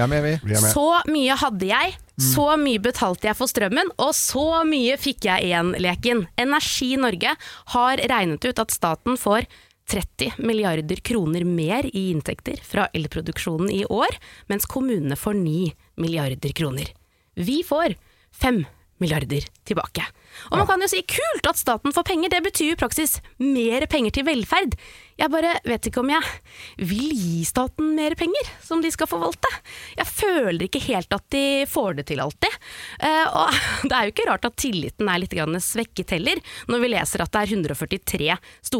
Speaker 1: er med, Mm. vi.
Speaker 3: Så mye hadde jeg, så mye betalte jeg for strømmen, og så mye fikk jeg igjen leken. Energi Norge har regnet ut at staten får 30 milliarder kroner mer i inntekter fra elproduksjonen i år, mens kommunene får 9 milliarder kroner. Vi får 5 milliarder tilbake. Og man kan jo si kult at staten får penger, det betyr jo i praksis mer penger til velferd. Jeg bare vet ikke om jeg vil gi staten mer penger som de skal forvalte. Jeg føler ikke helt at de får det til alltid. Eh, og det er jo ikke rart at tilliten er litt grann svekket heller, når vi leser at det er 143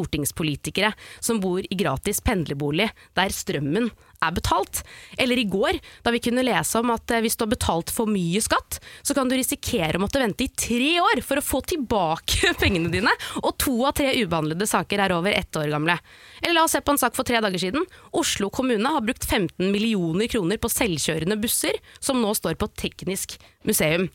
Speaker 3: stortingspolitikere som bor i gratis pendlerbolig der strømmen er betalt. Eller i går, da vi kunne lese om at eh, hvis du har betalt for mye skatt, så kan du risikere å måtte vente i tre år for å få tilbake pengene dine, og to av tre ubehandlede saker er over ett år gamle. Eller la oss se på en sak for tre dager siden. Oslo kommune har brukt 15 millioner kroner på selvkjørende busser, som nå står på Teknisk museum.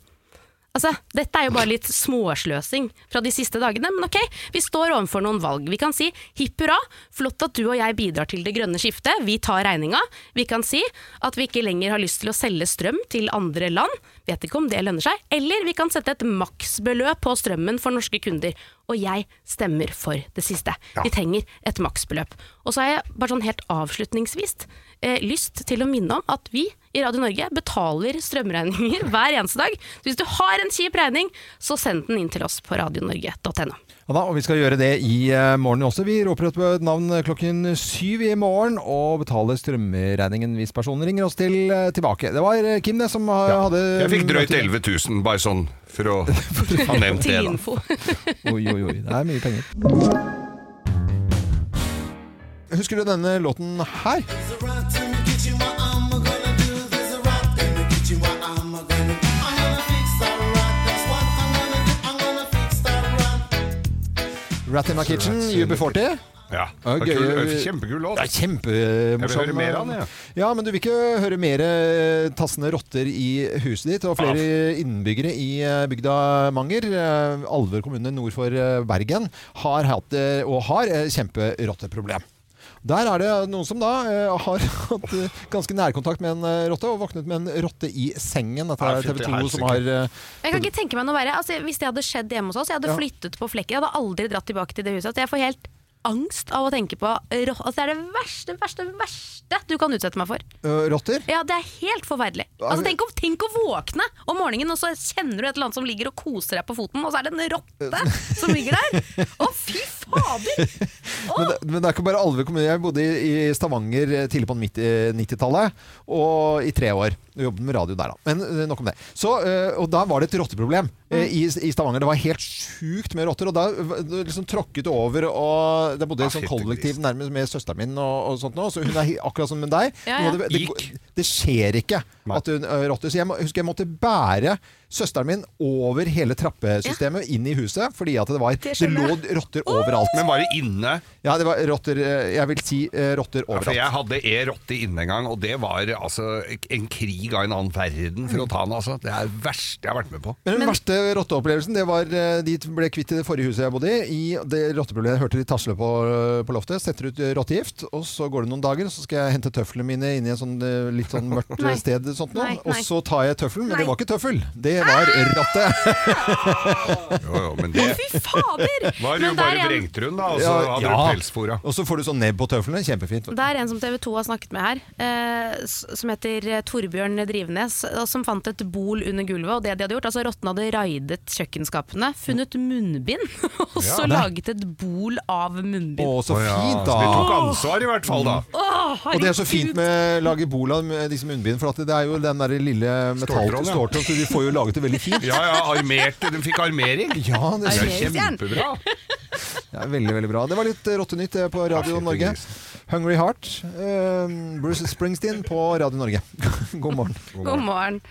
Speaker 3: Altså, dette er jo bare litt småsløsing fra de siste dagene, men ok, vi står overfor noen valg. Vi kan si hipp hurra, flott at du og jeg bidrar til det grønne skiftet, vi tar regninga. Vi kan si at vi ikke lenger har lyst til å selge strøm til andre land, vet ikke om det lønner seg. Eller vi kan sette et maksbeløp på strømmen for norske kunder. Og jeg stemmer for det siste. Vi trenger et maksbeløp. Og så har jeg bare sånn helt avslutningsvis eh, lyst til å minne om at vi i Radio Norge betaler strømregninger hver eneste dag. Så hvis du har en kjip regning, så send den inn til oss på radionorge.no.
Speaker 1: Ja da, og vi skal gjøre det i eh, morgen også. Vi roper ut vårt navn eh, klokken syv i morgen og betaler strømregningen hvis personen ringer oss til eh, tilbake. Det var eh, Kim det som eh, hadde
Speaker 2: Jeg fikk drøyt
Speaker 1: Eh,
Speaker 2: 11 000, bare sånn for å ha nevnt det.
Speaker 3: Til
Speaker 2: da
Speaker 3: info.
Speaker 1: Oi, oi, oi. Det er mye penger. Husker du denne låten her? Rat in my kitchen, UB40.
Speaker 2: Ja.
Speaker 1: Ja,
Speaker 2: Det er kul,
Speaker 1: gøy.
Speaker 2: kjempekul
Speaker 1: Det er
Speaker 2: låt. Jeg vil
Speaker 1: kjempemorsom.
Speaker 2: høre mer av den, jeg.
Speaker 1: Ja, men du vil ikke høre mer eh, tassende rotter i huset ditt. Og flere innbyggere i eh, bygda Manger, eh, Alver kommune nord for eh, Bergen, har hatt eh, og har eh, kjemperotteproblem. Der er det noen som da eh, har hatt eh, ganske nærkontakt med en eh, rotte, og våknet med en rotte i sengen. Dette
Speaker 2: Ja,
Speaker 1: er
Speaker 2: fytti
Speaker 1: TV 2 som
Speaker 2: helsike.
Speaker 1: har eh,
Speaker 3: Jeg kan ikke tenke meg noe verre. Altså, hvis det hadde skjedd hjemme hos oss, jeg hadde flyttet på flekken. Jeg hadde aldri dratt tilbake til det huset. Altså, jeg får helt angst av å tenke på rå- altså, Det er det verste, verste, verste du kan utsette meg for.
Speaker 1: eh, rotter.
Speaker 3: Ja, det er helt forferdelig. Altså, tenk, å, tenk å våkne om morgenen, og så kjenner du et eller annet som ligger og koser deg på foten, og så er det en rotte som ligger der! Å, fy fader!
Speaker 1: Men det, men det er ikke bare Alve kommune. Jeg bodde i, i Stavanger eh, tidlig på midt- eh, 90-tallet, og i tre år. Jeg Jobbet med radio der, da. Men eh, nok om det. Så, eh, og da var det et rotteproblem eh, i, i Stavanger. Det var helt sjukt med rotter. Og da v- det liksom tråkket det over, og jeg bodde i
Speaker 2: Ah,
Speaker 1: et sånt
Speaker 2: fytti
Speaker 1: kollektiv
Speaker 2: grisen.
Speaker 1: nærmest med søsteren min og, og sånt nå, så hun er he- akkurat som med deg. Nå
Speaker 3: Ja, ja.
Speaker 1: hadde vi- det,
Speaker 2: Gikk.
Speaker 1: det, skjer ikke
Speaker 2: Nei.
Speaker 1: at hun eh, rotter. Så jeg må, husker jeg måtte bære søsteren min over hele trappesystemet inn i huset, fordi at det var
Speaker 3: Det
Speaker 1: Det lå
Speaker 3: skjønner
Speaker 1: rotter overalt.
Speaker 2: Men bare inne.
Speaker 1: Ja, det var rotter eh, Jeg vil si eh, rotter
Speaker 2: Ja, for
Speaker 1: overalt.
Speaker 2: jeg hadde e rotte inne en gang, og det var altså en krig av en annen verden for å ta den. altså. Det er det verste jeg har vært med på.
Speaker 1: Men den verste rotteopplevelsen, det var eh, de ble kvitt i det forrige huset jeg bodde i. I det rotteproblemet jeg hørte de tasle på, på loftet. Setter ut eh, rottegift, og så går det noen dager, så skal jeg hente tøflene mine inn i en sånn eh, litt litt sånn mørkt
Speaker 3: Nei.
Speaker 1: sted. Sånt noe.
Speaker 3: Nei, nei.
Speaker 1: Og så tar jeg tøffelen, men
Speaker 3: Nei. Ah!
Speaker 1: det var ikke tøffel. Det var rattet.
Speaker 2: Jo, jo, men det
Speaker 3: Fy fader!
Speaker 2: var jo
Speaker 3: Men det er
Speaker 2: bare
Speaker 3: en-
Speaker 2: vrengte hun, da, og så
Speaker 1: Ja,
Speaker 2: hadde
Speaker 1: ja.
Speaker 2: du pelsfora.
Speaker 1: Og så får du sånn nebb på tøflene. Kjempefint.
Speaker 3: Det er en som TV 2 har snakket med her, eh, s- som heter eh, Torbjørn Drivnes, og som fant et bol under gulvet. Og det de hadde gjort, altså Rotten hadde raidet kjøkkenskapene, funnet munnbind, og så
Speaker 1: Ja.
Speaker 3: laget et bol av
Speaker 1: Å,
Speaker 3: munnbind.
Speaker 1: så
Speaker 2: Å ja,
Speaker 1: fint,
Speaker 2: Så de tok
Speaker 1: da.
Speaker 2: ansvar i hvert fall, da.
Speaker 3: Åh,
Speaker 1: Og det er så fint med lage bol av disse munnbindene, for at det er jo den der lille metall
Speaker 2: Ståltråden, ja.
Speaker 1: ståltråden, så de får jo laget det veldig fint.
Speaker 2: Ja, ja, armerte. De fikk armering.
Speaker 1: Ja, det
Speaker 2: Det
Speaker 1: er,
Speaker 2: er kjempebra.
Speaker 1: det er veldig, veldig bra. Det var litt eh, rottenytt eh, på Radio
Speaker 2: fy,
Speaker 1: Norge.
Speaker 2: grisen.
Speaker 1: Hungry Heart, eh, Bruce Springsteen på Radio Norge. God morgen.
Speaker 3: God morgen.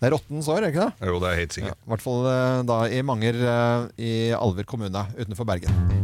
Speaker 1: Det er rottens år, er det ikke det?
Speaker 2: Jo, det er helt sikkert.
Speaker 1: I hvert fall eh, da i Manger eh, i Alver kommune utenfor Bergen.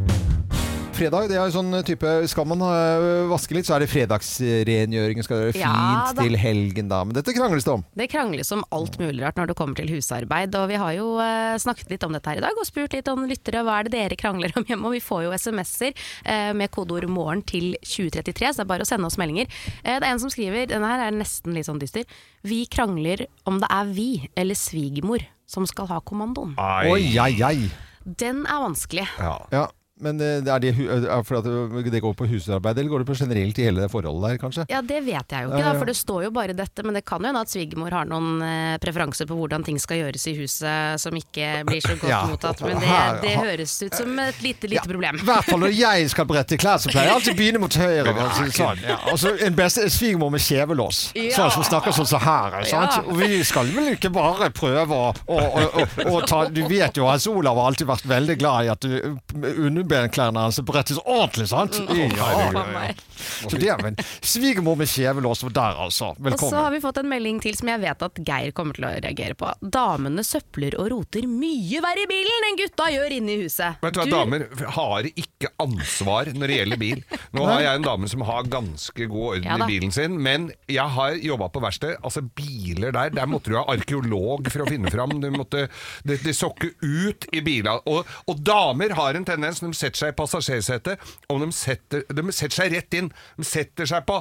Speaker 1: Fredag, det er jo sånn type Skal man eh, vaske litt, så er det fredagsrengjøring. Skal det være
Speaker 3: Ja,
Speaker 1: fint
Speaker 3: da.
Speaker 1: til helgen, da. Men dette krangles det om.
Speaker 3: Det krangles om alt mulig rart når det kommer til husarbeid, og vi har jo eh, snakket litt om dette her i dag og spurt litt om lyttere hva er det dere krangler om hjemme, og vi får jo SMS-er eh, med kodeord 'morgen' til 2033, så det er bare å sende oss meldinger. Eh, det er en som skriver, denne her er nesten litt sånn dyster, vi krangler om det er vi eller svigermor som skal ha kommandoen.
Speaker 1: Oi,
Speaker 2: Ai.
Speaker 1: ai, ai.
Speaker 3: Den er vanskelig.
Speaker 2: Ja.
Speaker 1: Ja, men eh, er det, hu- er fordi at eh, det går på husarbeid, eller går det på generelt i hele det forholdet der, kanskje?
Speaker 3: Ja, det vet jeg jo ikke, da, for det står jo bare dette. Men det kan jo hende at svigermor har noen eh, preferanser på hvordan ting skal gjøres i huset som ikke blir så godt
Speaker 1: Ja.
Speaker 3: mottatt. Men det,
Speaker 1: Her-
Speaker 3: det høres ut som et lite, lite problem.
Speaker 1: I hvert fall når jeg skal brette klær, så pleier jeg alltid å begynne mot høyre. Og så, sånn, ja. og så en beste en svigermor med kjevelås,
Speaker 3: Ja.
Speaker 1: sånn som snakker sånn som her. Sant?
Speaker 3: Ja.
Speaker 1: Og vi skal vel ikke bare prøve å, å, å, å, å ta Du vet jo, Hans Olav har alltid vært veldig glad i at du- underbenklærne hans brettes ordentlig, sant? Ja.
Speaker 3: For meg.
Speaker 1: Så det er vel svigermor med kjevelås og der, altså.
Speaker 3: Og så har
Speaker 1: Velkommen.
Speaker 3: vi fått en melding til som jeg vet at Geir kommer til å reagere på. Damene søpler og roter mye verre i bilen enn gutta gjør inne i huset.
Speaker 2: Vet du hva, Damer har ikke ansvar når det gjelder bil. Nå har jeg en dame som har ganske god orden
Speaker 3: Ja da.
Speaker 2: i bilen sin, men jeg har jobba på verksted. Altså, biler der Der måtte du ha arkeolog for å finne fram. Du måtte, det, det sokke ut i biler. Og, og damer har en tendens, når de setter seg i passasjersetet, og de setter, de setter seg rett inn. De setter seg på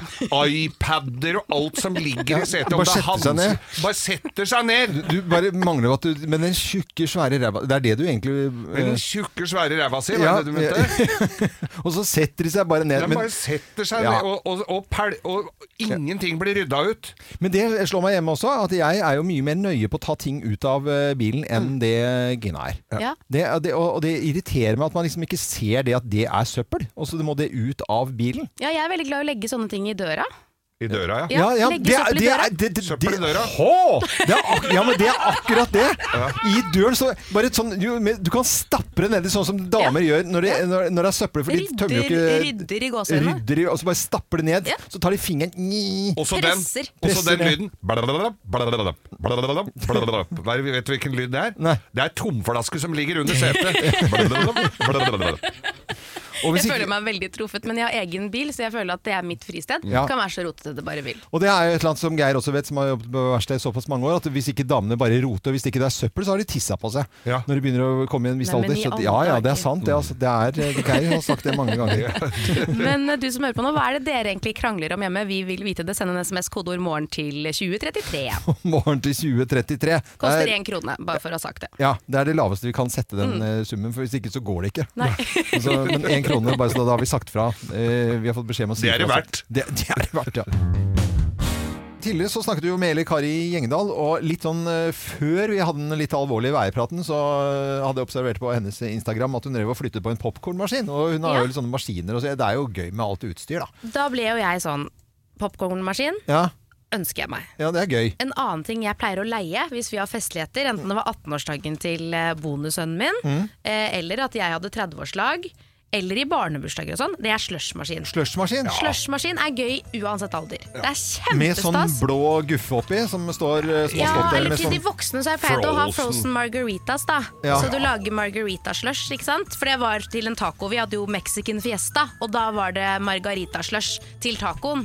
Speaker 2: iPader og alt som ligger i setet. Om
Speaker 1: bare
Speaker 2: det er
Speaker 1: setter seg
Speaker 2: Hansen-
Speaker 1: ned.
Speaker 2: Bare setter seg ned!
Speaker 1: Du bare mangler jo at du Men den tjukke, svære ræva Det er det du egentlig
Speaker 2: Med
Speaker 1: eh,
Speaker 2: den tjukke, svære ræva si, var
Speaker 1: Ja,
Speaker 2: det det du mente?
Speaker 1: Og så setter de seg bare ned.
Speaker 2: Den
Speaker 1: Eh, men-
Speaker 2: bare setter seg
Speaker 1: Ja.
Speaker 2: ned, og, og, og, pel, og ingenting blir rydda ut.
Speaker 1: Men det slår meg hjemme også, at jeg er jo mye mer nøye på å ta ting ut av eh, bilen enn det Gina er.
Speaker 3: Ja.
Speaker 1: Det, eh, det, og og det irriterer meg at man liksom ikke ser det at det er søppel, og så det må det ut av bilen.
Speaker 3: Ja, jeg er veldig glad i å legge sånne ting i døra.
Speaker 2: I døra, ja.
Speaker 3: Ja, legge
Speaker 1: det, er-
Speaker 3: søppel i
Speaker 1: det,
Speaker 3: døra.
Speaker 1: er- det, det,
Speaker 2: Søppel i
Speaker 1: det-
Speaker 2: døra.
Speaker 1: Hå! Det er ak ja, men det er akkurat det. I døren så bare et sånn, jo, men Du kan stappe det nedi, sånn som damer gjør når det, når, når det er søppel. For de tømmer jo ikke
Speaker 3: Rydder, rydder i gåseøynene.
Speaker 1: Rydder i- og så bare stapper det ned.
Speaker 3: Ja.
Speaker 1: Så tar de fingeren Ni.
Speaker 2: Og så den,
Speaker 3: Presser.
Speaker 2: og så
Speaker 1: Presser
Speaker 2: den
Speaker 1: ned.
Speaker 2: lyden. Blablabla, blablabla, blablabla, blablabla. Hva er det- Vet du hvilken lyd det er?
Speaker 1: Nei.
Speaker 2: Det er tomflaske som ligger under setet. Blablabla, blablabla.
Speaker 1: Og hvis
Speaker 3: Jeg
Speaker 1: ikke-
Speaker 3: føler meg veldig truffet, men jeg har egen bil, så jeg føler at det er mitt fristed.
Speaker 1: Ja.
Speaker 3: Kan være så rotete det bare vil.
Speaker 1: Og det er jo et eller annet som Geir også vet, som har jobbet på verksted i såpass mange år, at hvis ikke damene bare roter, og hvis ikke det er søppel, så har de tissa på seg
Speaker 2: Ja.
Speaker 1: når de begynner å komme i en viss
Speaker 3: Nei, men
Speaker 1: alder.
Speaker 3: i
Speaker 1: Så,
Speaker 3: alle
Speaker 1: ja, ja, det
Speaker 3: dager.
Speaker 1: er sant. Det, altså, det er, eh, Geir har sagt det mange ganger.
Speaker 3: Men eh, du som hører på nå, hva er det dere egentlig krangler om hjemme? Vi vil vite det. Send en SMS kodeord 'morgen' til 2033.
Speaker 1: Morgen til 2033.
Speaker 3: Koster
Speaker 1: Det er-
Speaker 3: én krone, bare for å ha sagt det.
Speaker 1: Ja, det er det laveste vi kan sette den eh, summen, for hvis ikke så går det ikke.
Speaker 3: Mm. Nei.
Speaker 1: Så, men én krone, bare så da, da har vi sagt fra. Eh, vi har fått beskjed om å si
Speaker 2: Det er det
Speaker 1: fra.
Speaker 2: verdt.
Speaker 1: Det, det er det verdt, ja. Tidligere så snakket vi jo med Eli Kari Gjengdal, og litt sånn eh, før vi hadde den litt alvorlige værpraten, så eh, hadde jeg observert på hennes Instagram at hun drev og flyttet på en popkornmaskin. Og hun har
Speaker 3: Ja.
Speaker 1: jo litt sånne maskiner, og så det er jo gøy med alt utstyr, da.
Speaker 3: Da ble jo jeg sånn Popkornmaskin
Speaker 1: Ja,
Speaker 3: ønsker jeg meg.
Speaker 1: ja det er gøy.
Speaker 3: En annen ting jeg pleier å leie hvis vi har festligheter, enten det var 18-årsdagen til eh, bonussønnen min,
Speaker 1: Mm.
Speaker 3: eh, eller at jeg hadde 30-årslag, eller i barnebursdager og sånn, det er slushmaskin.
Speaker 1: Slushmaskin.
Speaker 3: Slushmaskin er gøy uansett alder. Det er
Speaker 1: Med sånn
Speaker 3: kjempestas.
Speaker 1: blå guffe oppi, som står eh, som
Speaker 3: Ja,
Speaker 1: har stått der
Speaker 3: eller
Speaker 1: med
Speaker 3: til
Speaker 1: sånn
Speaker 3: de voksne så har jeg pleid å ha
Speaker 2: Frozen.
Speaker 3: frozen margaritas, da.
Speaker 1: Ja.
Speaker 3: Så du lager margarita-slush, ikke sant? For det var til en taco. Vi hadde jo Mexican fiesta, og da var det margarita-slush til tacoen.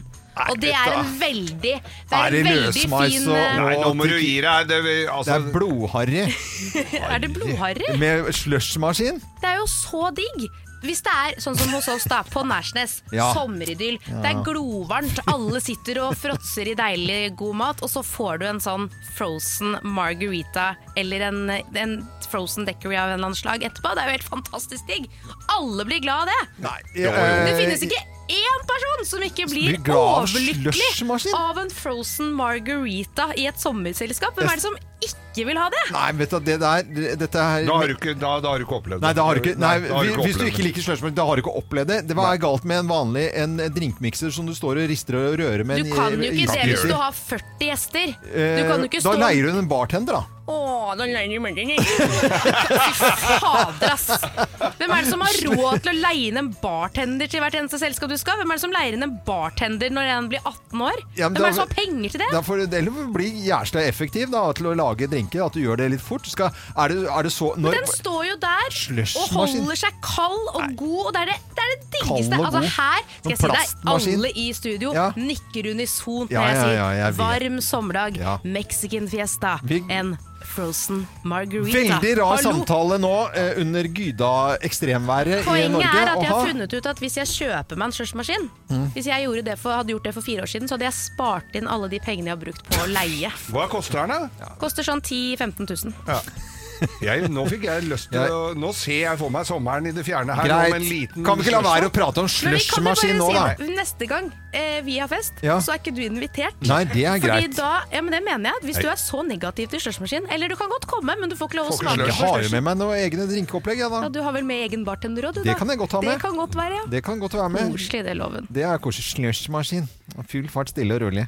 Speaker 3: Og det er en veldig Det
Speaker 1: Er
Speaker 3: er
Speaker 1: det
Speaker 3: en veldig
Speaker 1: løsmeis
Speaker 3: fin
Speaker 1: og-
Speaker 3: eh,
Speaker 2: Nei, nå må du gi deg. Det, vil-
Speaker 1: Det
Speaker 2: altså,
Speaker 1: er blodharry.
Speaker 3: eh, Er det blodharry?
Speaker 1: Med slushmaskin?
Speaker 3: Det er jo så digg! hvis det er sånn som hos oss da, på Nærsnes,
Speaker 1: Ja.
Speaker 3: sommeridyll, det er glovarmt, alle sitter og fråtser i deilig god mat, og så får du en sånn frozen margarita eller en, en frozen daiquiri av en eller annen slag etterpå. Det er jo helt fantastisk digg. Alle blir glad av det.
Speaker 1: Nei,
Speaker 3: Det
Speaker 1: eh,
Speaker 3: finnes ikke én person som ikke blir
Speaker 1: blir glad av
Speaker 3: overlykkelig
Speaker 1: slushmaskin.
Speaker 3: av en frozen margarita i et sommerselskap. Hvem er det som ikke vil ha det?
Speaker 1: Nei, vet du, det der Dette her
Speaker 2: Da har du ikke, da, da har du ikke opplevd det.
Speaker 1: Nei, da har du ikke, nei,
Speaker 2: da har du
Speaker 1: hvis du
Speaker 2: opplevd
Speaker 1: ikke
Speaker 2: det.
Speaker 1: liker slushmark, da har du ikke opplevd det. Det var galt med en vanlig en drinkmikser som du står og rister og rører med.
Speaker 3: Du
Speaker 1: en-
Speaker 3: kan jo
Speaker 1: i-
Speaker 3: ikke det
Speaker 2: ikke gjøre
Speaker 3: hvis du
Speaker 2: det.
Speaker 3: har 40 gjester.
Speaker 1: Eh,
Speaker 3: Du kan jo ikke stå
Speaker 1: Da leier hun en bartender, da.
Speaker 3: Å, da leier du meg inn. Fy fader, ass. Hvem er det som har råd til å leie inn en bartender til hvert eneste selskap du skal? Hvem er det som leier inn en bartender når en blir 18 år?
Speaker 1: Ja, men
Speaker 3: Hvem er det
Speaker 1: da-
Speaker 3: som har penger til det?
Speaker 1: Da får du- Eller bli jævla effektiv da, til å lage drinker. At du gjør det litt fort. Skal, er, det, er det så når,
Speaker 3: Den står jo der og
Speaker 1: Slushmaskin.
Speaker 3: holder seg kald og god, og det er det, det, er det diggeste.
Speaker 1: Kald og
Speaker 3: Altså
Speaker 1: god.
Speaker 3: her skal jeg si
Speaker 1: Sånn
Speaker 3: deg,
Speaker 1: plastmaskin.
Speaker 3: alle i studio
Speaker 1: Ja.
Speaker 3: nikker unisont når
Speaker 1: Ja,
Speaker 3: jeg
Speaker 1: ja,
Speaker 3: sier
Speaker 1: ja, jeg vet.
Speaker 3: varm sommerdag,
Speaker 1: Ja.
Speaker 3: mexican fiesta,
Speaker 1: Vi-
Speaker 3: en frozen margarita.
Speaker 1: Veldig rar
Speaker 3: Hallo.
Speaker 1: samtale nå eh, under Gyda-ekstremværet i
Speaker 3: Poenget
Speaker 1: Norge. Mm.
Speaker 3: er at jeg
Speaker 1: Aha.
Speaker 3: har funnet ut at hvis jeg kjøper meg en slushmaskin Hvis jeg gjorde det for, hadde gjort det for fire år siden, så hadde jeg spart inn alle de pengene jeg har brukt på å leie.
Speaker 2: Hva koster den, da?
Speaker 3: Koster sånn 10 000-15 000.
Speaker 2: Jeg, nå fikk jeg lyst til
Speaker 1: Jeg-
Speaker 2: å Nå ser jeg for meg sommeren i det fjerne her. nå med en
Speaker 1: Greit.
Speaker 2: liten
Speaker 1: Kan vi ikke la være å
Speaker 2: slush-
Speaker 1: prate om
Speaker 3: Men vi kan jo
Speaker 1: slushmaskin nå, da?
Speaker 3: bare si at neste gang eh, vi har fest,
Speaker 1: Ja.
Speaker 3: så er ikke du invitert.
Speaker 1: Nei, det er
Speaker 3: Fordi
Speaker 1: greit.
Speaker 3: Da, ja, men det mener jeg. at Hvis du er så negativ til slushmaskin Eller du kan godt komme, men du får ikke lov å
Speaker 2: Får ikke
Speaker 3: smake.
Speaker 1: Jeg
Speaker 2: slush.
Speaker 3: på
Speaker 1: har jo
Speaker 3: slush.
Speaker 1: med meg noen egne drinkeopplegg, jeg,
Speaker 3: Ja,
Speaker 1: da.
Speaker 3: du har vel med egen bartender òg, du?
Speaker 1: Det
Speaker 3: da?
Speaker 1: kan jeg godt ha med.
Speaker 3: Det kan godt være, ja.
Speaker 1: Det kan godt være med.
Speaker 3: Koselig, det, Loven.
Speaker 1: Det er koselig. Slushmaskin. Full fart, stille og rolig.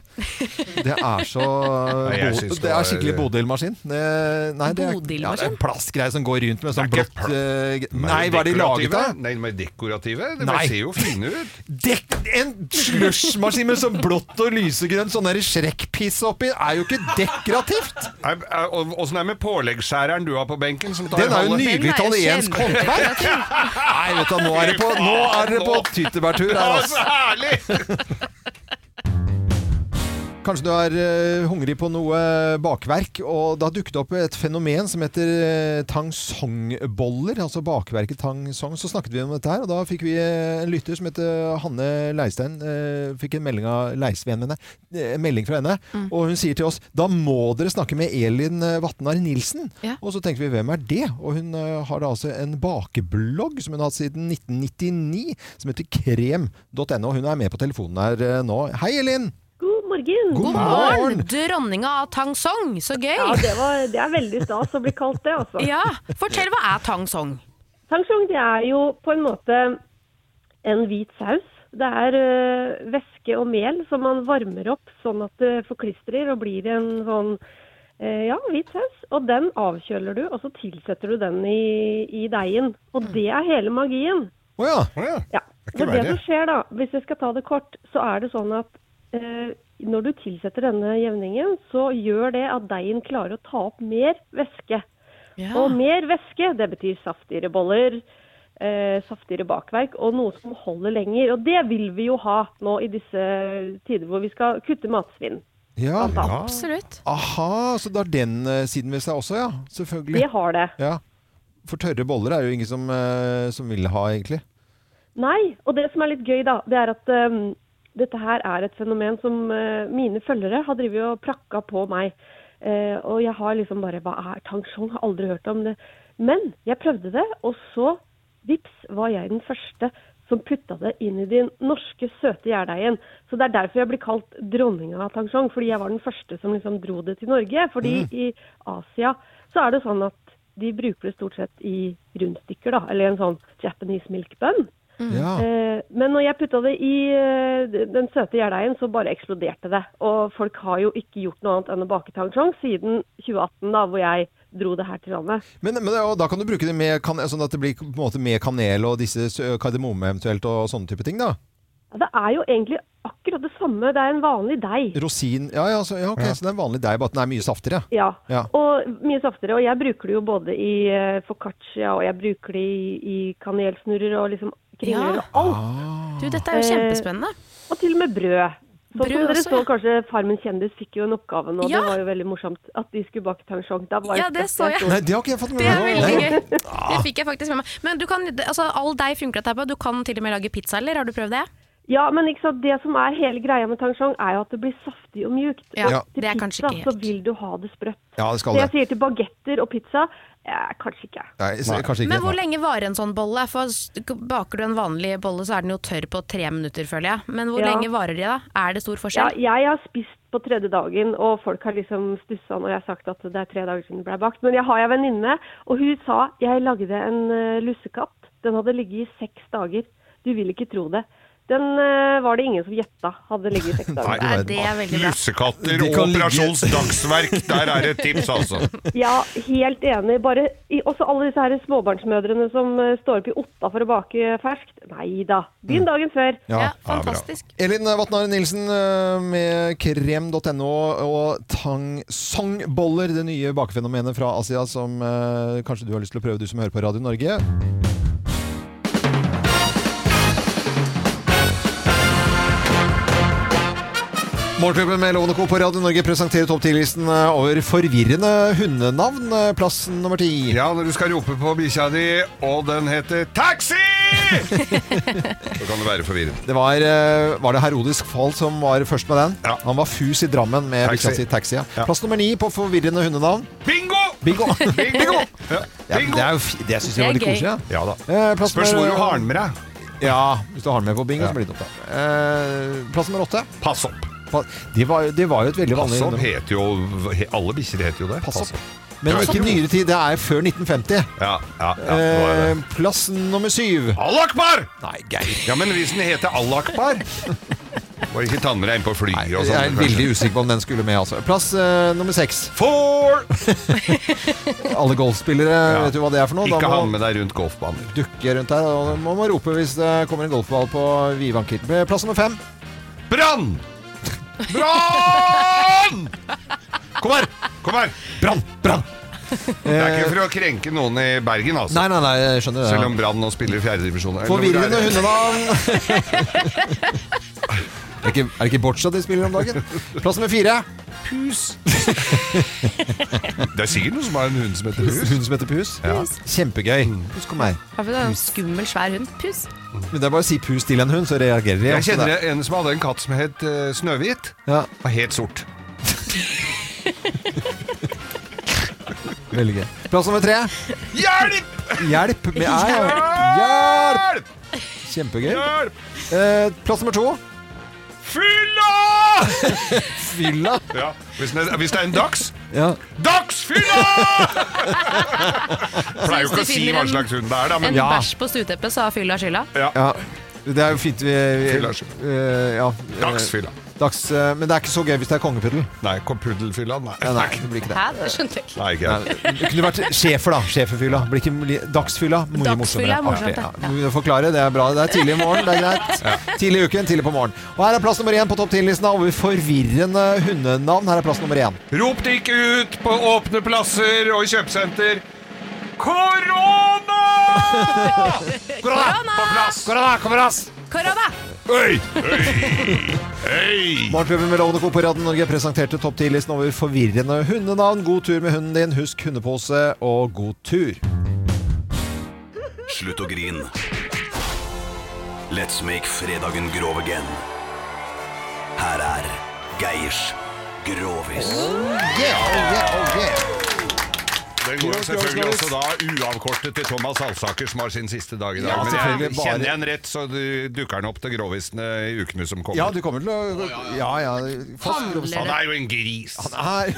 Speaker 1: Det er så
Speaker 2: jeg
Speaker 1: bo-
Speaker 2: syns det
Speaker 1: Det
Speaker 2: var-
Speaker 1: er skikkelig Bodil-maskin. Det- Nei, det er, ja, det er en
Speaker 3: Bodil-maskin?
Speaker 1: plastgreie som går rundt med sånn
Speaker 2: Det er ikke
Speaker 1: blått eh, Nei, hva er de laget av?
Speaker 2: Nei, de er dekorative. De
Speaker 1: Nei.
Speaker 2: ser jo fine ut.
Speaker 1: Dekk- En slushmaskin med sånn blått og lysegrønt sånn der Shrek-piss oppi er jo ikke dekorativt!
Speaker 2: Er- er- eh, og- Åssen er det med påleggsskjæreren du har på benken? Som tar
Speaker 1: Den er jo
Speaker 2: halve-
Speaker 1: nydelig
Speaker 3: Den er jo
Speaker 1: italiensk håndverk! Nei, vet du, nå er det på, nå er det på tyttebærtur her,
Speaker 2: Å,
Speaker 1: altså.
Speaker 2: så herlig!
Speaker 1: Kanskje du er eh, hungrig på noe bakverk, og da dukket det opp et fenomen som heter eh, tang song-boller, altså bakverket tang song. Så snakket vi om dette her, og da fikk vi eh, en lytter som heter Hanne Leistein, eh, fikk en melding av Leisveen mine, eh, en melding fra henne, og hun sier til oss, da må dere snakke med Elin eh, Vatnar Nilsen.
Speaker 3: Ja.
Speaker 1: Og så tenkte vi, hvem er det? Og hun eh, har da altså en bakeblogg som hun har hatt siden 1999, som heter krem.no. Hun er med på telefonen her eh, nå. Hei, Elin!
Speaker 8: God morgen!
Speaker 1: God
Speaker 3: God morgen, dronninga av Tang Song. Så
Speaker 8: Ja,
Speaker 3: gøy!
Speaker 8: det, var, det er veldig stas å bli kalt det, altså.
Speaker 3: Ja, Fortell, hva er Tang Song?
Speaker 8: Tangsjong, det er jo på en måte en hvit saus. Det er øh, væske og mel som man varmer opp sånn at det forklistrer og blir en sånn øh, ja, hvit saus. Og den avkjøler du, og så tilsetter du den i, i deigen. Og det er hele magien.
Speaker 1: Å ja.
Speaker 2: Å, ja.
Speaker 8: Ja.
Speaker 2: Det er
Speaker 8: Det,
Speaker 2: ikke
Speaker 8: det
Speaker 2: verre.
Speaker 8: som skjer da, hvis vi skal ta det kort, så er det sånn at eh, når du tilsetter denne jevningen, så gjør det at deigen klarer å ta opp mer væske. Og mer væske, det betyr saftigere boller, eh, saftigere bakverk og noe som holder lenger. Og det vil vi jo ha nå i disse tider hvor vi skal kutte matsvinn.
Speaker 1: Ja,
Speaker 8: blant annet.
Speaker 3: Absolutt.
Speaker 1: aha, så det har den eh, siden ved seg også, ja. Selvfølgelig.
Speaker 8: Det har det.
Speaker 1: Ja. For tørre boller er jo ingen som, eh, som vil ha, egentlig.
Speaker 8: Nei, og det som er litt gøy da, det er at øhm, dette her er et fenomen som øh, mine følgere har drivet og prakka på meg. Eh, og jeg har liksom bare Hva er tangsjong? Har aldri hørt om det. Men jeg prøvde det, og så vips var jeg den første som putta det inn i den norske søte gjærdeigen. Så det er derfor jeg blir kalt dronninga av tangsjong, fordi jeg var den første som liksom dro det til Norge. Fordi i Asia så er det sånn at de bruker det stort sett i rundstykker, da. Eller en sånn Japanese milk bun.
Speaker 1: Ja.
Speaker 8: Eh, Men når jeg putta det i eh, den søte gjerdeigen, så bare eksploderte det. Og folk har jo ikke gjort noe annet enn å bake tangsjong siden 2018, da, hvor jeg dro det her til landet.
Speaker 1: Men, men ja, da kan du bruke det med kan, sånn at det blir på en måte med kanel og disse sø- kardemomme eventuelt og sånne type ting, da.
Speaker 8: Ja, Det er jo egentlig akkurat det samme. Det er en vanlig deig.
Speaker 1: Rosin Ja, ja, så, ja ok, så det er en vanlig deig, bare at den er mye saftigere.
Speaker 8: Ja.
Speaker 1: Ja.
Speaker 8: Og mye saftere. Og jeg bruker det jo både i eh, foccaccia, og jeg bruker det i, i kanelsnurrer og liksom kringler
Speaker 3: Ja.
Speaker 8: og alt. Eh,
Speaker 3: Du, dette er jo kjempespennende.
Speaker 8: Og til og med brød. Sånn som
Speaker 3: Brød
Speaker 8: dere
Speaker 3: også,
Speaker 8: så
Speaker 3: ja.
Speaker 8: kanskje Farmen kjendis fikk jo en oppgave nå,
Speaker 3: Ja.
Speaker 8: det var jo veldig morsomt. At de skulle bake tangshong. Da var
Speaker 3: Ja, det så jeg.
Speaker 1: Nei, det har ikke jeg fått med
Speaker 3: Det er
Speaker 1: meg.
Speaker 3: veldig
Speaker 1: Nei.
Speaker 3: gøy. Det fikk jeg faktisk med meg. Men du kan, altså, all deig funker dette her på. Du kan til og med lage pizza, eller? Har du prøvd det?
Speaker 8: Ja, men ikke sant, det som er hele greia med tangshong, er jo at det blir saftig og mjukt.
Speaker 3: Ja,
Speaker 8: og
Speaker 3: det er
Speaker 8: til
Speaker 3: kanskje
Speaker 8: pizza
Speaker 3: ikke
Speaker 8: så
Speaker 3: helt.
Speaker 8: vil du ha det sprøtt.
Speaker 1: Ja, det skal
Speaker 8: Det jeg
Speaker 1: det.
Speaker 8: sier til bagetter og pizza, eh, kanskje ikke.
Speaker 1: Nei, så- kanskje
Speaker 3: Men hvor
Speaker 1: ikke.
Speaker 3: lenge varer en sånn bolle? For s- baker du en vanlig bolle, så er den jo tørr på tre minutter, føler jeg. Men hvor
Speaker 8: Ja.
Speaker 3: lenge varer de, da? Er det stor
Speaker 8: Ja,
Speaker 3: forskjell?
Speaker 8: jeg har spist på tredje dagen, og folk har liksom stussa når jeg har sagt at det er tre dager siden det ble bakt. Men jeg har en venninne, og hun sa jeg lagde en eh, lussekatt. Den hadde ligget i seks dager. Du vil ikke tro det. Den eh, var det ingen som gjetta hadde ligget i seks dager.
Speaker 3: Nei, det
Speaker 1: Ah.
Speaker 3: er veldig bra.
Speaker 2: Lussekatter
Speaker 1: De
Speaker 2: og
Speaker 1: kan ligge-
Speaker 2: Operasjons Dagsverk, der er et tips, altså.
Speaker 8: Ja, helt enig. Bare, i- også alle disse her småbarnsmødrene som eh, står opp i Otta for å bake ferskt. Nei da, begynn dagen før.
Speaker 3: Ja,
Speaker 1: Ja.
Speaker 3: fantastisk.
Speaker 1: Elin Vatnar Nilsen eh, med krem.no og tangsangboller, det nye bakefenomenet fra Asia som eh, kanskje du har lyst til å prøve, du som hører på Radio Norge. Morgenklubben med Lovende Co. på Radio Norge presenterer topp 10-listen over forvirrende hundenavn. eh, Plass nummer ti.
Speaker 2: Ja, når du skal rope på bikkja di, og den heter taxi! Så kan det være forvirrende.
Speaker 1: Det var, eh, var det Herodisk Fall som var først med den.
Speaker 2: Ja.
Speaker 1: Han var fus i Drammen med
Speaker 2: Taxi.
Speaker 1: taxi. Si, taxi ja.
Speaker 2: Ja.
Speaker 1: Plass nummer ni på forvirrende hundenavn.
Speaker 2: Bingo!
Speaker 1: Bingo!
Speaker 2: Bingo!
Speaker 1: Ja, men
Speaker 2: Bingo!
Speaker 1: det er jo fi- det syns jeg var
Speaker 3: Det er
Speaker 1: litt koselig. Ja.
Speaker 2: Ja da.
Speaker 1: Eh, plass
Speaker 2: Spørs hvor
Speaker 1: nummer-
Speaker 2: du har den med deg.
Speaker 1: Ja, hvis du har den med på bingo,
Speaker 2: Ja.
Speaker 1: så blir det dumt. da. Eh, plass nummer åtte.
Speaker 2: Pass opp.
Speaker 1: Pa- Det var, jo- det var jo et veldig vanlig
Speaker 2: Pass opp
Speaker 1: hundenavn.
Speaker 2: heter jo he- Alle bikkjer heter jo det.
Speaker 1: Pass opp. Men
Speaker 2: Jeg vet
Speaker 1: ikke
Speaker 2: ikke.
Speaker 1: nyere tid. Det er før 1950.
Speaker 2: Ja, ja, ja. nå er
Speaker 1: Eh,
Speaker 2: det.
Speaker 1: plass nummer syv.
Speaker 2: Allah akbar!
Speaker 1: Nei, Geir.
Speaker 2: Ja, men hvis den heter Allah akbar Var det ikke tannrein på
Speaker 1: Nei,
Speaker 2: flyet og
Speaker 1: jeg er
Speaker 2: sånn?
Speaker 1: veldig usikker på om den skulle med. Altså. Plass eh, nummer seks.
Speaker 2: For!
Speaker 1: Alle golfspillere,
Speaker 2: Ja.
Speaker 1: vet du hva det er for noe? Da
Speaker 2: Ikke
Speaker 1: må-
Speaker 2: ha den med deg rundt golfbaner.
Speaker 1: dukke rundt her. Og man må rope hvis det kommer en golfball på vidvanken. Plass nummer fem.
Speaker 2: Brann! Brann! Kom her! Kom her!
Speaker 1: Brann! Brann!
Speaker 2: Det er ikke for å krenke noen i Bergen, altså.
Speaker 1: Nei, nei, nei, jeg skjønner
Speaker 2: Selv
Speaker 1: det.
Speaker 2: om Brann nå spiller i fjerdedivisjon.
Speaker 1: Forvirrende hundenavn. er, det ikke, er det ikke Boccia de spiller om dagen? Plass nummer fire.
Speaker 2: Pus! det er sikkert noen som har en hund som heter Pus.
Speaker 1: Hun som heter Pus.
Speaker 2: Ja.
Speaker 1: Kjempegøy. Husk om meg.
Speaker 3: Har vi da en skummel, svær hund? Pus.
Speaker 1: Men det er bare å si pus til en hund, så reagerer de.
Speaker 2: Jeg kjenner en som hadde en katt som het eh, Snøhvit.
Speaker 1: Ja,
Speaker 2: Var helt sort.
Speaker 1: veldig gøy. Plass nummer tre.
Speaker 2: Hjelp!
Speaker 1: Hjelp med æ. Hjelp!
Speaker 2: Hjelp!
Speaker 1: Kjempegøy.
Speaker 2: Hjelp!
Speaker 1: Eh, plass nummer to.
Speaker 2: Fylla!
Speaker 1: Fylla.
Speaker 2: Ja, hvis, det, hvis det er en dags
Speaker 1: Ja.
Speaker 2: Dagsfylla! Pleier jo ikke å
Speaker 3: hvis de
Speaker 2: si
Speaker 3: finner
Speaker 2: hva
Speaker 3: en-
Speaker 2: slags hund det er, da,
Speaker 3: En
Speaker 2: men
Speaker 1: Ja.
Speaker 3: bæsj på stueteppet, så har fylla skylda.
Speaker 1: ja. Det er jo fint vi, vi
Speaker 2: Fylla skyld.
Speaker 1: eh, ja, eh,
Speaker 2: Dagsfylla.
Speaker 1: Dags, eh, men det er ikke så gøy hvis det er kongepuddel.
Speaker 2: Nei, kom puddelfylla? Nei.
Speaker 1: Ja, nei, det blir ikke det.
Speaker 3: Hæ, det skjønte jeg ikke.
Speaker 2: Nei, ikke det.
Speaker 1: Det kunne vært sjefer, da. Sjeferfylla. Blir ikke li- Dagsfylla. Mye
Speaker 3: Dagsfylla
Speaker 1: morsommere.
Speaker 3: er morsomt,
Speaker 1: Artig,
Speaker 3: ja.
Speaker 1: ja. Vi Forklare, det er bra. Det er tidlig i morgen, det er greit. Tidlig i uken, tidlig på morgen. Og her er plass nummer én på topp 10-listen over forvirrende hundenavn. Her er plass nummer én.
Speaker 2: Rop det ikke ut på åpne plasser og i kjøpesenter. Korona! Korona! På plass! Korona, kom plass!
Speaker 3: Korona!
Speaker 2: Øy! Øy! Øy!
Speaker 1: Morgenklubben med Lovende Co. på Radio Norge presenterte topp 10-listen over forvirrende hundenavn. God tur med hunden din, husk hundepose og god tur.
Speaker 9: Slutt å grin. Let's make fredagen grov again. Her er Geirs Grovis.
Speaker 1: Yeah, oh yeah, oh yeah.
Speaker 2: Den går selvfølgelig også da uavkortet til Thomas Alsaker, som har sin siste dag i dag.
Speaker 1: Ja,
Speaker 2: Men jeg,
Speaker 1: selvfølgelig, bare-
Speaker 2: kjenner jeg en rett, så du- dukker han opp til grovisene i ukene som kommer.
Speaker 1: Ja, du kommer til å Oh, Ja, ja. Fast
Speaker 3: Handler
Speaker 2: Han
Speaker 3: det,
Speaker 2: er jo en gris!
Speaker 1: her.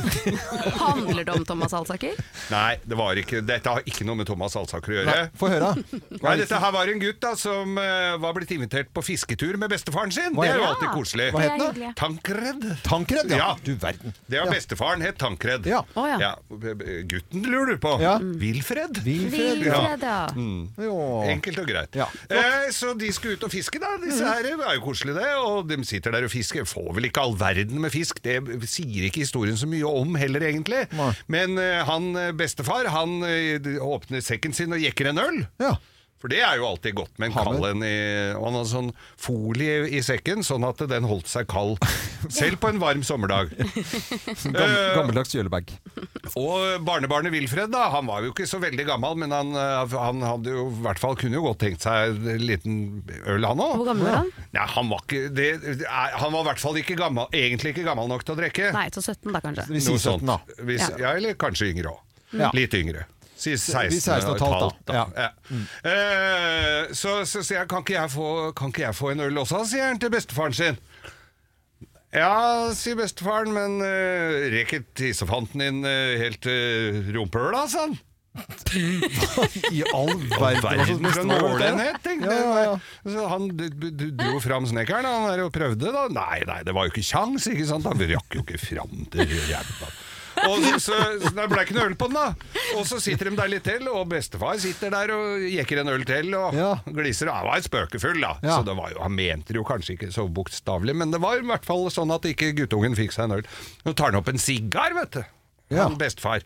Speaker 3: handler det om Thomas Alsaker?
Speaker 2: Nei, det var ikke, dette har ikke noe med Thomas Alsaker å gjøre.
Speaker 1: Nei, Få høre.
Speaker 2: Nei, dette her var en gutt da som eh, var blitt invitert på fisketur med bestefaren sin.
Speaker 1: Hva
Speaker 2: Det er jo
Speaker 1: heter
Speaker 2: alltid koselig.
Speaker 1: Hva heter den?
Speaker 3: hyggelig.
Speaker 2: Tankred.
Speaker 1: Tankred, ja.
Speaker 2: Ja.
Speaker 1: Du verden.
Speaker 2: Det var bestefaren het Tankred.
Speaker 1: Ja.
Speaker 3: Å, ja.
Speaker 2: Gutten lurer du på.
Speaker 1: Ja.
Speaker 2: Wilfred.
Speaker 1: Wilfred,
Speaker 2: ja.
Speaker 3: Wilfred, ja.
Speaker 7: Mm.
Speaker 1: Jo.
Speaker 2: Enkelt og greit.
Speaker 1: Ja. Mhm.
Speaker 2: Eh, så de skulle ut og fiske, da. Disse her det er jo koselig, det. Og de sitter der og fisker. Får vel ikke all verden med fisk, det sier ikke historien så mye om heller, egentlig.
Speaker 1: Nei.
Speaker 2: Men eh, han eh, bestefar, han eh, åpner sekken sin og jekker en øl.
Speaker 1: Ja.
Speaker 2: For det er jo alltid godt med en
Speaker 1: Ha med.
Speaker 2: kald en i Og han hadde sånn folie i sekken, sånn at den holdt seg kald. Selv på en varm sommerdag.
Speaker 1: Gammel, gammeldags kjølebag.
Speaker 2: Og barnebarnet Wilfred, da, han var jo ikke så veldig gammel, men han, eh, han hadde jo i hvert fall kunne jo godt tenkt seg en liten øl, han òg.
Speaker 3: Hvor gammel var han?
Speaker 2: Nei, han var ikke det, det er- Han var i hvert fall ikke gammel, egentlig ikke gammel nok til å drikke.
Speaker 3: Nei, så 17 da kanskje.
Speaker 1: Vi sier
Speaker 2: Noe
Speaker 1: 17,
Speaker 2: sånt.
Speaker 1: da.
Speaker 2: Hvis,
Speaker 3: Ja.
Speaker 2: ja. eller kanskje yngre òg.
Speaker 1: Ja.
Speaker 2: Litt yngre. Si 16,
Speaker 1: Vi 16 og et halvt, da.
Speaker 2: Ja. Eh, så så sier jeg kan ikke jeg, få, kan ikke jeg få en øl også, sier han til bestefaren sin. Ja, sier bestefaren, men uh, reker tissefanten din eh, helt til rumpehøla, sa han.
Speaker 1: I all verden. hva slags
Speaker 2: Verdens
Speaker 1: neste år var sånn det?
Speaker 2: nålenhet, tenkte
Speaker 1: Ja,
Speaker 2: jeg.
Speaker 1: ja, ja.
Speaker 2: Så han d- d- d- dro fram snekkeren, han der og prøvde da. Nei, nei, det var jo ikke kjangs, ikke sant? Han rakk jo ikke fram til jævla. Og så, så, så det ble ikke noe øl på den da Og så sitter de der litt til Og bestefar sitter der og jekker en øl til Og
Speaker 1: Ja.
Speaker 2: gliser, han var spøkefull da
Speaker 1: Ja.
Speaker 2: Så det var jo, han mente det jo kanskje ikke så bokstavlig Men det var i hvert fall sånn at ikke guttungen fikk seg en øl Nå tar han opp en sigar, vet du
Speaker 1: Ja.
Speaker 2: han bestefar.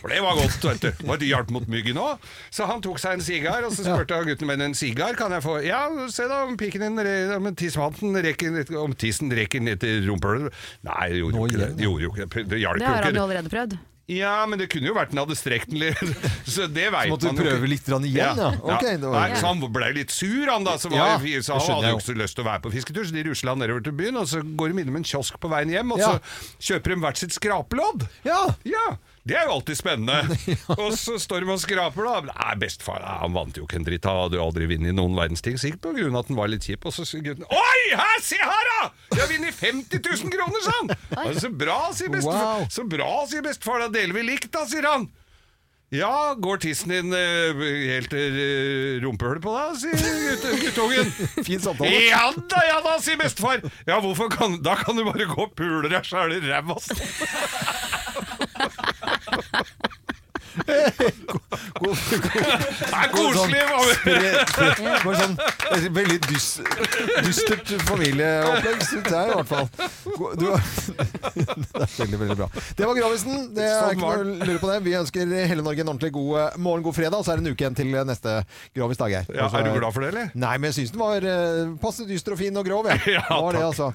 Speaker 2: For det var godt, vet du. Var det hjalp mot myggen òg? Så han tok seg en sigar, og så spurte jeg gutten min en sigar kan jeg få. Ja, se da om pikken din re- om tissevanten rekker ned- Om tissen rekker ned til rumpehullet. Nei, det gjorde jo
Speaker 1: Nå
Speaker 2: ikke det.
Speaker 1: igjen.
Speaker 2: Det gjorde jo ikke det. Det hjalp
Speaker 3: Det
Speaker 2: jo
Speaker 3: har han jo
Speaker 2: ikke.
Speaker 3: allerede prøvd.
Speaker 2: Ja, men det kunne jo vært den hadde strekt den litt. Så det veit
Speaker 1: måtte du
Speaker 2: man jo
Speaker 1: prøve
Speaker 2: ikke.
Speaker 1: litt grann igjen, ja. Ok, det var-
Speaker 2: Nei, så han ble jo litt sur, han da. Så, var,
Speaker 1: Ja,
Speaker 2: jo-
Speaker 1: det
Speaker 2: så han
Speaker 1: skjønner
Speaker 2: hadde
Speaker 1: jeg
Speaker 2: jo ikke så lyst til å være på fisketur, så de rusla nedover til byen, og så går de innom en kiosk på veien hjem, og
Speaker 1: Ja.
Speaker 2: så kjøper de hvert sitt skrapelodd.
Speaker 1: Ja.
Speaker 2: Ja, det er jo alltid spennende. Og så står de og skraper, da. Nei, bestefar nei, han vant jo ikke en dritt. Han hadde jo aldri vunnet noen verdens ting. Sikkert på grunn av at han var litt kjip. Og så sier gutten Oi, her, se her, da! Jeg har vunnet 50 000 kroner, sa han! «Ja, Så bra, sier bestefar.
Speaker 1: Wow.
Speaker 2: Så bra, sier bestefar. Da deler vi likt, da, sier han. Ja, går tissen din eh, helt til eh, rumpehullet på deg, sier gutt- guttungen.
Speaker 1: Fin samtale.
Speaker 2: Ja da, ja da, sier bestefar. Ja, hvorfor kan Da kan du bare gå og pule deg sjæl i ræva. ass.
Speaker 1: God,
Speaker 2: Det er koselig! hva-
Speaker 1: Det var sånn et veldig dys, dystert familieopplegg, syns jeg i hvert fall. God- Du, det er veldig, veldig bra. Det var Gravisen. Det er
Speaker 2: Sånn
Speaker 1: ikke
Speaker 2: var
Speaker 1: noe å lure på det. Vi ønsker hele Norge en ordentlig god eh, morgen, god fredag, så er det en uke igjen til eh, neste Gravis dag her.
Speaker 2: Ja, er du glad for det, eller?
Speaker 1: Nei, men jeg syns den var eh, passe dyster og fin og grov, jeg.
Speaker 2: Ja,
Speaker 1: Det var det,
Speaker 2: takk.
Speaker 1: altså.